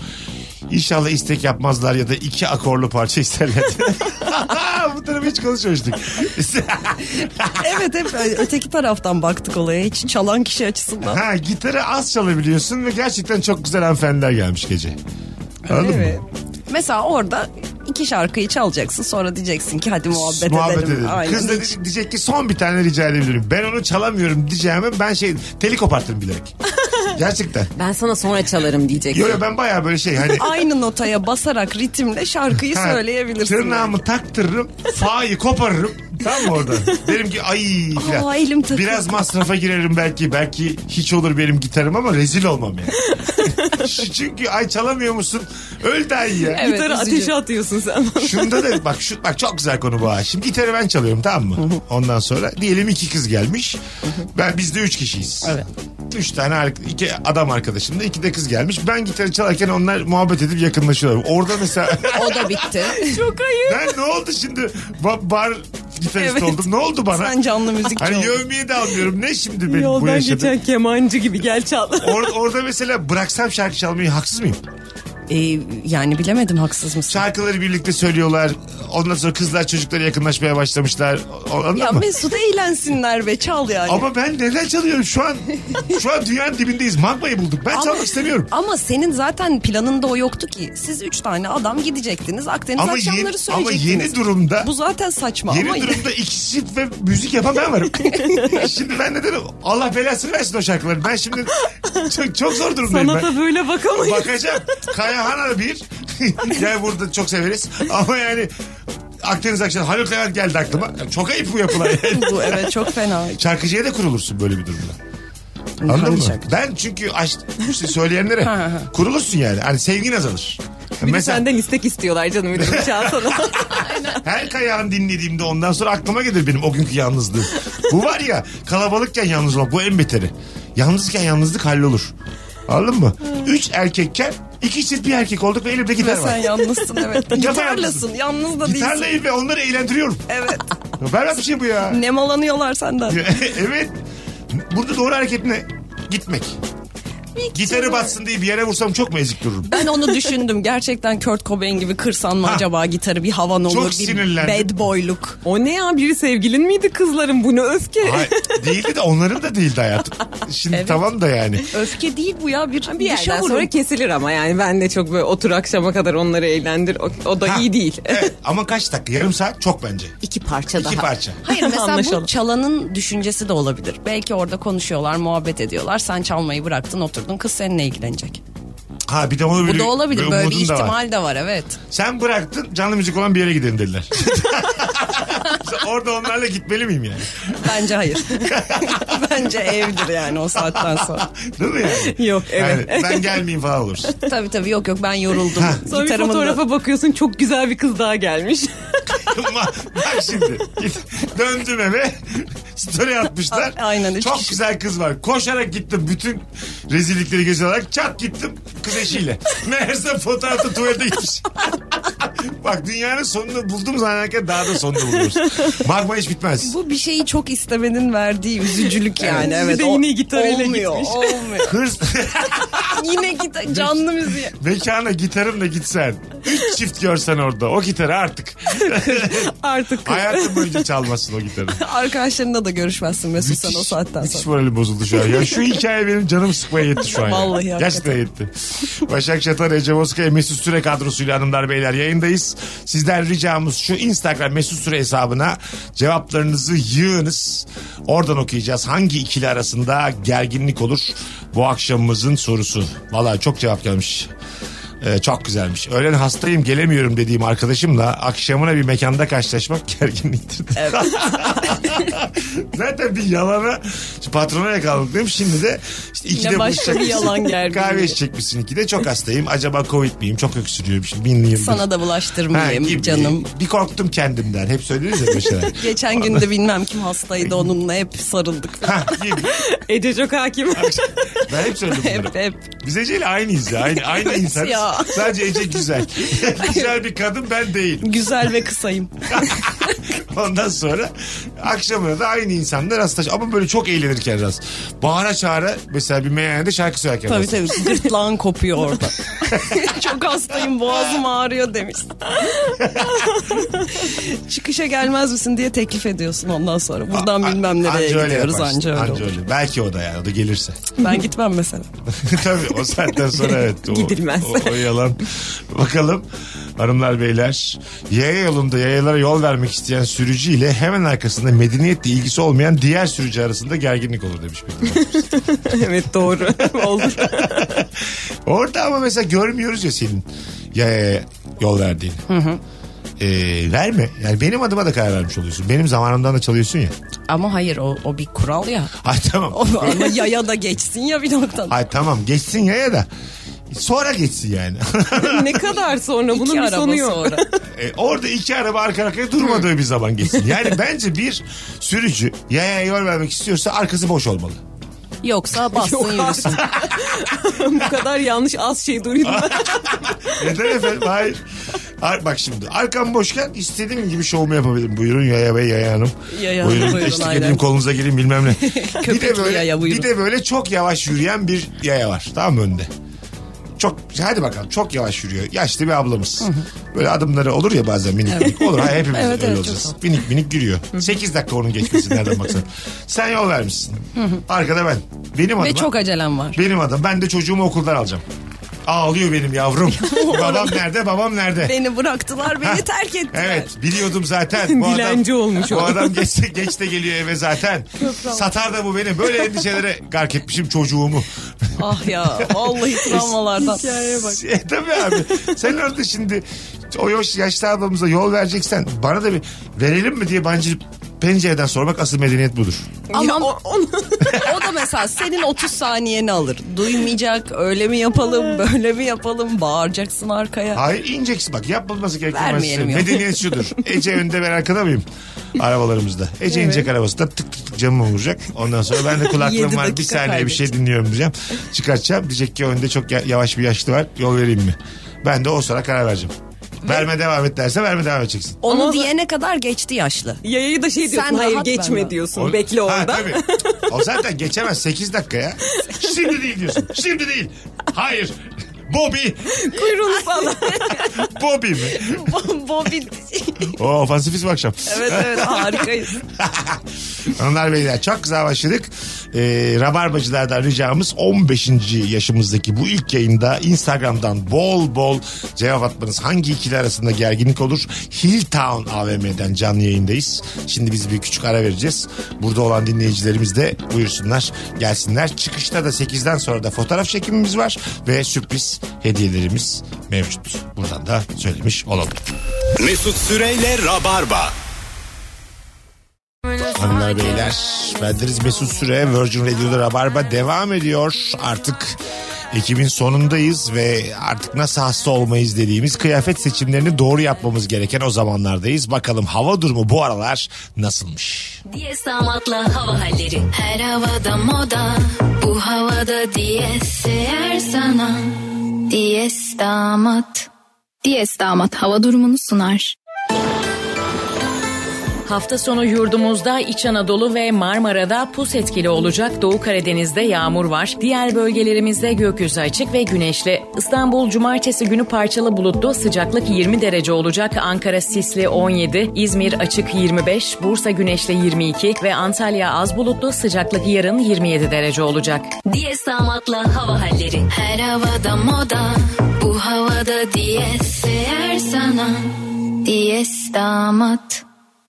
[SPEAKER 3] İnşallah istek yapmazlar ya da iki akorlu parça isterler. Bu tarafı hiç konuşmamıştık.
[SPEAKER 4] evet hep öteki taraftan baktık olaya. Hiç çalan kişi açısından.
[SPEAKER 3] ha, gitarı az çalabiliyorsun ve gerçekten çok güzel hanımefendiler gelmiş gece. Anladın mı?
[SPEAKER 4] Evet. Mesela orada iki şarkıyı çalacaksın sonra diyeceksin ki hadi muhabbet,
[SPEAKER 3] muhabbet
[SPEAKER 4] edelim.
[SPEAKER 3] edelim.
[SPEAKER 4] Aynen.
[SPEAKER 3] Kız da
[SPEAKER 4] Hiç-
[SPEAKER 3] dedi- diyecek ki son bir tane rica edebilirim. Ben onu çalamıyorum diyeceğime ben şey teli koparttım bilerek. Gerçekten.
[SPEAKER 5] Ben sana sonra çalarım diyecek.
[SPEAKER 3] Yo yo ben baya böyle şey hani.
[SPEAKER 4] Aynı notaya basarak ritimle şarkıyı
[SPEAKER 3] ha,
[SPEAKER 4] söyleyebilirsin.
[SPEAKER 3] Tırnağımı taktırırım. Fa'yı koparırım. Tam mı orada? Derim ki ay falan.
[SPEAKER 4] Aa, elim takıldı.
[SPEAKER 3] Biraz masrafa girerim belki. Belki hiç olur benim gitarım ama rezil olmam yani. Çünkü ay çalamıyor musun? Öl daha iyi ya.
[SPEAKER 4] Evet,
[SPEAKER 5] Gitarı
[SPEAKER 4] üzücü.
[SPEAKER 5] ateşe atıyorsun sen.
[SPEAKER 3] Şunda da bak şu bak çok güzel konu bu ha. Şimdi gitarı ben çalıyorum tamam mı? Ondan sonra diyelim iki kız gelmiş. Ben biz de üç kişiyiz. Evet. Üç tane ar- iki adam arkadaşım da iki de kız gelmiş. Ben gitarı çalarken onlar muhabbet edip yakınlaşıyorlar. Orada mesela
[SPEAKER 5] o da bitti. Çok ayıp.
[SPEAKER 3] ben ne oldu şimdi Ba- bar gitarist
[SPEAKER 4] Evet.
[SPEAKER 3] oldum. Ne oldu bana?
[SPEAKER 4] Sen canlı müzik
[SPEAKER 3] Hani
[SPEAKER 4] çal.
[SPEAKER 3] yövmeye de almıyorum. Ne şimdi benim bu
[SPEAKER 5] Yoldan
[SPEAKER 3] yaşadığım?
[SPEAKER 5] geçen kemancı gibi gel çal.
[SPEAKER 3] Or- orada mesela bıraksam şarkı çalmayı haksız mıyım?
[SPEAKER 4] Ee, yani bilemedim haksız mısın?
[SPEAKER 3] Şarkıları birlikte söylüyorlar. Ondan sonra kızlar çocuklara yakınlaşmaya başlamışlar. O- Anladın
[SPEAKER 4] Ya
[SPEAKER 3] mı?
[SPEAKER 4] Mesut eğlensinler be çal yani. Ama,
[SPEAKER 3] Ama ben neden çalıyorum şu an? Şu an dünyanın dibindeyiz. Magmayı bulduk. Ben çalmak istemiyorum.
[SPEAKER 4] senin zaten planında o yoktu ki. Siz üç tane adam gidecektiniz Akdeniz
[SPEAKER 3] Ama
[SPEAKER 4] akşamları
[SPEAKER 3] yeni, ama
[SPEAKER 4] söyleyecektiniz.
[SPEAKER 3] yeni durumda
[SPEAKER 4] Bu zaten saçma ama
[SPEAKER 3] yeni durumda ikisi ve müzik yapan ben varım. şimdi ben neden Allah belasını versin o şarkıları. Ben şimdi çok, çok zor durumdayım
[SPEAKER 5] Sana
[SPEAKER 3] ben.
[SPEAKER 5] da böyle bakamayız.
[SPEAKER 3] Bakacağım. Kayahan bir. yani burada çok severiz. Ama yani Akdeniz akşam Haluk Levent geldi aklıma. Çok ayıp bu yapılan. yani.
[SPEAKER 4] bu evet çok fena.
[SPEAKER 3] Şarkıcıya da kurulursun böyle bir durumda. Anladın
[SPEAKER 4] Hangi
[SPEAKER 3] mı?
[SPEAKER 4] şarkı?
[SPEAKER 3] Ben çünkü aç, işte söyleyenlere kurulursun yani. Hani sevgin azalır.
[SPEAKER 5] Bir de
[SPEAKER 3] Mesela
[SPEAKER 5] senden istek istiyorlar canım. Bir şey de çalsana.
[SPEAKER 3] her kayağın dinlediğimde ondan sonra aklıma gelir benim o günkü yalnızlığım. bu var ya kalabalıkken yalnız olmak bu en beteri. Yalnızken yalnızlık hallolur. Anladın mı? Üç erkekken iki çift bir erkek olduk ve elimde gitar
[SPEAKER 4] Ve sen
[SPEAKER 3] var.
[SPEAKER 4] yalnızsın evet. Gitarlasın yalnız E, da değilsin.
[SPEAKER 3] Gitarlayıp ve onları eğlendiriyorum.
[SPEAKER 4] Evet.
[SPEAKER 3] Berbat bir şey bu ya.
[SPEAKER 4] Nemalanıyorlar senden.
[SPEAKER 3] evet. Burada doğru hareket ne? Gitmek. Gitarı batsın diye bir yere vursam çok mu ezik dururum?
[SPEAKER 4] Ben onu düşündüm. Gerçekten Kurt Cobain gibi kırsan mı acaba gitarı bir havan olur. bir
[SPEAKER 3] sinirlendim.
[SPEAKER 4] bad boyluk.
[SPEAKER 5] O ne ya biri sevgilin miydi kızların bu ne öfke.
[SPEAKER 3] Hayır, değildi de onların da değildi hayatım. Şimdi tamam da yani.
[SPEAKER 4] Öfke değil bu ya bir, şey
[SPEAKER 5] Bir
[SPEAKER 4] bir
[SPEAKER 5] yerden
[SPEAKER 4] şavurun.
[SPEAKER 5] sonra kesilir ama yani ben de çok böyle otur akşama kadar onları eğlendir. O, o da
[SPEAKER 3] Ha.
[SPEAKER 5] iyi değil.
[SPEAKER 3] Evet, ama kaç dakika? Yarım saat çok bence.
[SPEAKER 5] İki parça
[SPEAKER 3] İki parça.
[SPEAKER 4] Hayır mesela
[SPEAKER 5] Anlaşalım.
[SPEAKER 4] bu çalanın düşüncesi de olabilir. Belki orada konuşuyorlar, muhabbet ediyorlar. Sen çalmayı bıraktın, oturdun. Kız seninle ilgilenecek.
[SPEAKER 3] Ha bir de onu
[SPEAKER 4] Bu
[SPEAKER 3] böyle,
[SPEAKER 4] da olabilir. Böyle bir
[SPEAKER 3] umudun da var.
[SPEAKER 4] ihtimal de var evet.
[SPEAKER 3] Sen bıraktın canlı müzik olan bir yere gidelim dediler. Orada onlarla gitmeli miyim yani?
[SPEAKER 4] Bence hayır. Bence evdir yani o saatten sonra.
[SPEAKER 3] Değil mi yani?
[SPEAKER 5] Yok, evet.
[SPEAKER 3] Yani ben gelmeyeyim falan olursun.
[SPEAKER 4] Tabii tabii yok yok ben yoruldum.
[SPEAKER 5] Sonra bir
[SPEAKER 4] Gitarımın da-
[SPEAKER 5] fotoğrafa bakıyorsun çok güzel bir kız daha gelmiş.
[SPEAKER 3] Ma- Bak şimdi git- döndüm eve story atmışlar.
[SPEAKER 4] A- aynen, üç
[SPEAKER 3] Çok
[SPEAKER 4] kişi.
[SPEAKER 3] güzel kız var. Koşarak gittim bütün rezillikleri göz alarak çat gittim kız eşiyle. Meğerse fotoğrafta tuvalete gitmiş. Bak dünyanın sonunu buldum zannederken daha da sonunu buluruz. Magma hiç bitmez.
[SPEAKER 4] Bu bir şeyi çok istemenin verdiği üzücülük yani
[SPEAKER 5] Evet.
[SPEAKER 4] evet.
[SPEAKER 5] Bir de
[SPEAKER 4] O-
[SPEAKER 5] yine gitarıyla
[SPEAKER 4] olmuyor,
[SPEAKER 5] gitmiş.
[SPEAKER 4] Olmuyor.
[SPEAKER 3] Hırs
[SPEAKER 4] yine gitar canlı müziğe.
[SPEAKER 3] mekana gitarımla gitsen. Üç çift görsen orada o gitarı artık.
[SPEAKER 5] Artık kız.
[SPEAKER 3] Hayatım boyunca çalmasın o gitarı.
[SPEAKER 4] Arkadaşlarınla da görüşmezsin Mesut sen o saatten
[SPEAKER 3] müthiş
[SPEAKER 4] sonra.
[SPEAKER 3] moralim bozuldu şu an. Ya şu hikaye benim canım sıkmaya yetti şu an. ya.
[SPEAKER 4] Vallahi hakikaten.
[SPEAKER 3] Gerçekten yetti. Başak Şatar, Ece Bozkaya, Mesut Süre kadrosuyla hanımlar beyler yayındayız. Sizden ricamız şu Instagram Mesut Süre hesabına cevaplarınızı yığınız. Oradan okuyacağız. Hangi ikili arasında gerginlik olur? Bu akşamımızın sorusu. Vallahi çok cevap gelmiş. Ee, çok güzelmiş. Öğlen hastayım gelemiyorum dediğim arkadaşımla akşamına bir mekanda karşılaşmak gerginliktir. Zaten bir yalana şu patrona yakalandık değil mi? Şimdi de işte ikide
[SPEAKER 5] Yine başka bir
[SPEAKER 3] buluşacakmışsın.
[SPEAKER 5] yalan gerginliği.
[SPEAKER 3] Kahve içecekmişsin ikide çok hastayım. Acaba covid miyim? Çok öksürüyorum şimdi bin yıldır.
[SPEAKER 4] Sana da
[SPEAKER 3] Ha,
[SPEAKER 4] bulaştırmayayım
[SPEAKER 3] gibi.
[SPEAKER 4] canım.
[SPEAKER 3] Bir korktum kendimden. Hep söyleriz ya böyle şeyler.
[SPEAKER 4] Geçen gün de bilmem kim hastaydı onunla hep sarıldık.
[SPEAKER 3] Ha, gibi.
[SPEAKER 5] Ece çok hakim.
[SPEAKER 3] ben hep söyledim bunları.
[SPEAKER 4] hep hep.
[SPEAKER 3] Biz Ece ile aynıyız ya. Aynı, aynı insanız.
[SPEAKER 4] ya.
[SPEAKER 3] Sadece Ece güzel. güzel bir kadın ben değilim.
[SPEAKER 4] Güzel ve kısayım.
[SPEAKER 3] Ondan sonra akşamına da aynı insanlar rastlaş. Ama böyle çok eğlenirken rast. Bağıra çağıra mesela bir meyhanede şarkı söylerken
[SPEAKER 4] tabii
[SPEAKER 3] rast.
[SPEAKER 4] tabii gırtlağın kopuyor orada. Çok hastayım boğazım ağrıyor demiş. Çıkışa gelmez misin diye teklif ediyorsun ondan sonra. Buradan
[SPEAKER 3] A-
[SPEAKER 4] bilmem nereye
[SPEAKER 3] anca öyle
[SPEAKER 4] gidiyoruz
[SPEAKER 3] yaparsın,
[SPEAKER 4] anca öyle. olur.
[SPEAKER 3] Belki o da yani o da gelirse.
[SPEAKER 4] Ben gitmem mesela.
[SPEAKER 3] Tabii o saatten sonra evet. O,
[SPEAKER 5] Gidilmez.
[SPEAKER 3] O, o yalan. Bakalım hanımlar beyler. Yaya yolunda yayalara yol vermek isteyen sürücü ile hemen arkasında medeniyetle ilgisi olmayan diğer sürücü arasında gerginlik olur demiş. bir dinleyici.
[SPEAKER 5] evet doğru. Olur.
[SPEAKER 3] Orada ama mesela görmüyoruz ya senin yayaya yol verdiğini. Ee, verme. Yani benim adıma da karar vermiş oluyorsun. Benim zamanımdan da çalıyorsun ya.
[SPEAKER 4] Ama hayır o, o bir kural ya.
[SPEAKER 3] Ay tamam.
[SPEAKER 4] O, ama yaya da geçsin ya bir noktadan.
[SPEAKER 3] Ay tamam geçsin yaya da. Sonra geçsin yani.
[SPEAKER 5] ne kadar sonra bunun
[SPEAKER 4] İki
[SPEAKER 5] bir
[SPEAKER 4] araba
[SPEAKER 5] sonu yok.
[SPEAKER 4] sonra.
[SPEAKER 3] E, orada iki araba arka arkaya durmadığı bir zaman geçsin. Yani bence bir sürücü yaya yol vermek istiyorsa arkası boş olmalı.
[SPEAKER 4] Yoksa bassın
[SPEAKER 5] Yok
[SPEAKER 4] yürüsün.
[SPEAKER 5] bu kadar yanlış az şey duydum.
[SPEAKER 3] Neden efendim? Hayır. Ar- bak şimdi arkam boşken istediğim gibi şovumu yapabilirim. Buyurun yaya bey yaya hanım.
[SPEAKER 4] Yaya hanım,
[SPEAKER 3] buyurun,
[SPEAKER 4] buyurun,
[SPEAKER 3] eşlik
[SPEAKER 4] aynen.
[SPEAKER 3] edeyim kolunuza gireyim bilmem ne. bir de
[SPEAKER 4] Köpekli
[SPEAKER 3] böyle,
[SPEAKER 4] yaya, buyurun.
[SPEAKER 3] bir de böyle çok yavaş yürüyen bir yaya var. Tamam mı önde? Çok hadi bakalım çok yavaş yürüyor. Yaşlı bir ablamız. Böyle adımları olur ya bazen minik minik. Olur hayır hepimiz
[SPEAKER 4] Evet,
[SPEAKER 3] öyle
[SPEAKER 4] evet, çok
[SPEAKER 3] olacağız. Minik minik yürüyor. 8 dakika onun geçmesi nereden baksan. Sen yol vermişsin. Arkada ben. Benim
[SPEAKER 4] Ve
[SPEAKER 3] adıma.
[SPEAKER 4] çok acelem var.
[SPEAKER 3] Benim adam. Ben de çocuğumu okuldan alacağım. Ağlıyor benim yavrum. babam nerede? Babam nerede?
[SPEAKER 4] Beni bıraktılar beni terk ettiler.
[SPEAKER 3] Evet biliyordum zaten. Bu
[SPEAKER 5] Dilenci
[SPEAKER 3] adam,
[SPEAKER 5] olmuş o.
[SPEAKER 3] Bu adam geç, geç de geliyor eve zaten. Satar da bu beni. Böyle endişelere gark etmişim çocuğumu.
[SPEAKER 4] Ah ya vallahi travmalardan.
[SPEAKER 3] E, tabii abi. Sen orada şimdi o yaş, yaşlı ablamıza yol vereceksen bana da bir verelim mi diye bence pencereden sormak asıl medeniyet budur.
[SPEAKER 5] Ama
[SPEAKER 4] Aman-
[SPEAKER 5] onu...
[SPEAKER 4] O da mesela senin 30 saniyeni alır. Duymayacak öyle mi yapalım böyle mi yapalım bağıracaksın arkaya.
[SPEAKER 3] Hayır ineceksin bak yapılması gereken ben size-
[SPEAKER 4] Vermeyelim yok.
[SPEAKER 3] Medeniyet şudur. Ece önde ben arkada mıyım? Arabalarımızda. Ece inecek arabasında tık tık tık camıma vuracak. Ondan sonra ben de kulaklığım
[SPEAKER 4] Yedi
[SPEAKER 3] var bir
[SPEAKER 4] dakika
[SPEAKER 3] saniye bir şey dinliyorum diyeceğim. Çıkartacağım diyecek ki önde çok ya- yavaş bir yaşlı var yol vereyim mi? Ben de o sıra karar vereceğim. Verme devam et derse verme devam edeceksin.
[SPEAKER 4] Onu
[SPEAKER 5] Ama-
[SPEAKER 4] diyene kadar geçti yaşlı.
[SPEAKER 5] Yayayı da şey diyorsun
[SPEAKER 4] Sen
[SPEAKER 5] hayır
[SPEAKER 4] rahat ver
[SPEAKER 5] geçme
[SPEAKER 4] bana.
[SPEAKER 5] diyorsun
[SPEAKER 3] O-
[SPEAKER 5] bekle
[SPEAKER 3] Ha,
[SPEAKER 5] orada.
[SPEAKER 3] tabii. O zaten geçemez 8 dakika ya. Şimdi değil diyorsun. Şimdi değil. Hayır. Bobby.
[SPEAKER 5] Kuyruğunu salla.
[SPEAKER 3] Bobby mi?
[SPEAKER 4] Bobby.
[SPEAKER 3] O ofansifiz bu akşam.
[SPEAKER 4] evet evet harikayız.
[SPEAKER 3] Hanımlar beyler çok güzel başladık. Ee, Rabarbacılardan ricamız 15. yaşımızdaki bu ilk yayında Instagram'dan bol bol cevap atmanız. Hangi ikili arasında gerginlik olur? Hilltown AVM'den canlı yayındayız. Şimdi biz bir küçük ara vereceğiz. Burada olan dinleyicilerimiz de buyursunlar gelsinler. Çıkışta da 8'den sonra da fotoğraf çekimimiz var ve sürpriz hediyelerimiz mevcut. Buradan da söylemiş olalım.
[SPEAKER 2] Mesut Süreyle Rabarba.
[SPEAKER 3] Hanımlar beyler bendeniz Mesut Süre Virgin Radio'da Rabarba devam ediyor artık Ekibin sonundayız ve artık nasıl hasta olmayız dediğimiz kıyafet seçimlerini doğru yapmamız gereken o zamanlardayız. Bakalım hava durumu bu aralar nasılmış?
[SPEAKER 6] Diyes damatla hava halleri. Her havada moda, bu havada diyes eğer sana. Diyes damat. Diyes damat hava durumunu sunar.
[SPEAKER 7] Hafta sonu yurdumuzda İç Anadolu ve Marmara'da pus etkili olacak. Doğu Karadeniz'de yağmur var. Diğer bölgelerimizde gökyüzü açık ve güneşli. İstanbul cumartesi günü parçalı bulutlu. Sıcaklık 20 derece olacak. Ankara sisli 17, İzmir açık 25, Bursa güneşli 22 ve Antalya az bulutlu. Sıcaklık yarın 27 derece olacak.
[SPEAKER 6] Diyes damatla hava halleri. Her havada moda, bu havada diyes eğer sana. Diyes damat.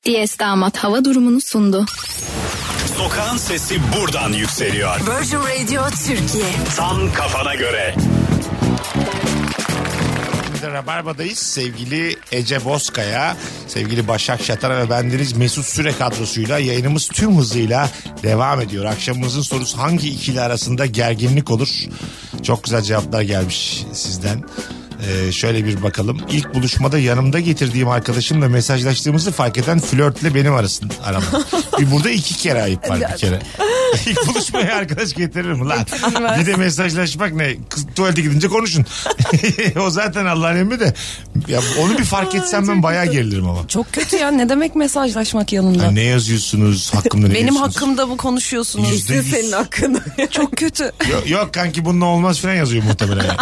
[SPEAKER 6] Diyes damat hava durumunu sundu.
[SPEAKER 2] Sokağın sesi buradan yükseliyor.
[SPEAKER 8] Virgin Radio Türkiye.
[SPEAKER 2] Tam kafana göre.
[SPEAKER 3] Biz de Rabarba'dayız. Sevgili Ece Bozkaya, sevgili Başak Şatara ve bendeniz Mesut Süre kadrosuyla yayınımız tüm hızıyla devam ediyor. Akşamımızın sorusu hangi ikili arasında gerginlik olur? Çok güzel cevaplar gelmiş sizden. Ee, şöyle bir bakalım. İlk buluşmada yanımda getirdiğim arkadaşımla mesajlaştığımızı fark eden flörtle benim arasın aramda. bir burada iki kere ayıp var bir kere. İlk buluşmaya arkadaş getiririm lan. Bir de mesajlaşmak ne? Kız tuvalete gidince konuşun. o zaten Allah'ın emri de. Ya onu bir fark etsem ben bayağı gerilirim ama.
[SPEAKER 4] Çok kötü ya ne demek mesajlaşmak yanında.
[SPEAKER 3] Ya ne yazıyorsunuz hakkımda ne
[SPEAKER 4] Benim
[SPEAKER 3] diyorsunuz?
[SPEAKER 4] hakkımda bu konuşuyorsunuz.
[SPEAKER 3] Yüzde yüz.
[SPEAKER 5] Senin hakkında.
[SPEAKER 4] Çok kötü.
[SPEAKER 3] Yok, yok kanki bununla olmaz falan yazıyor muhtemelen. yani.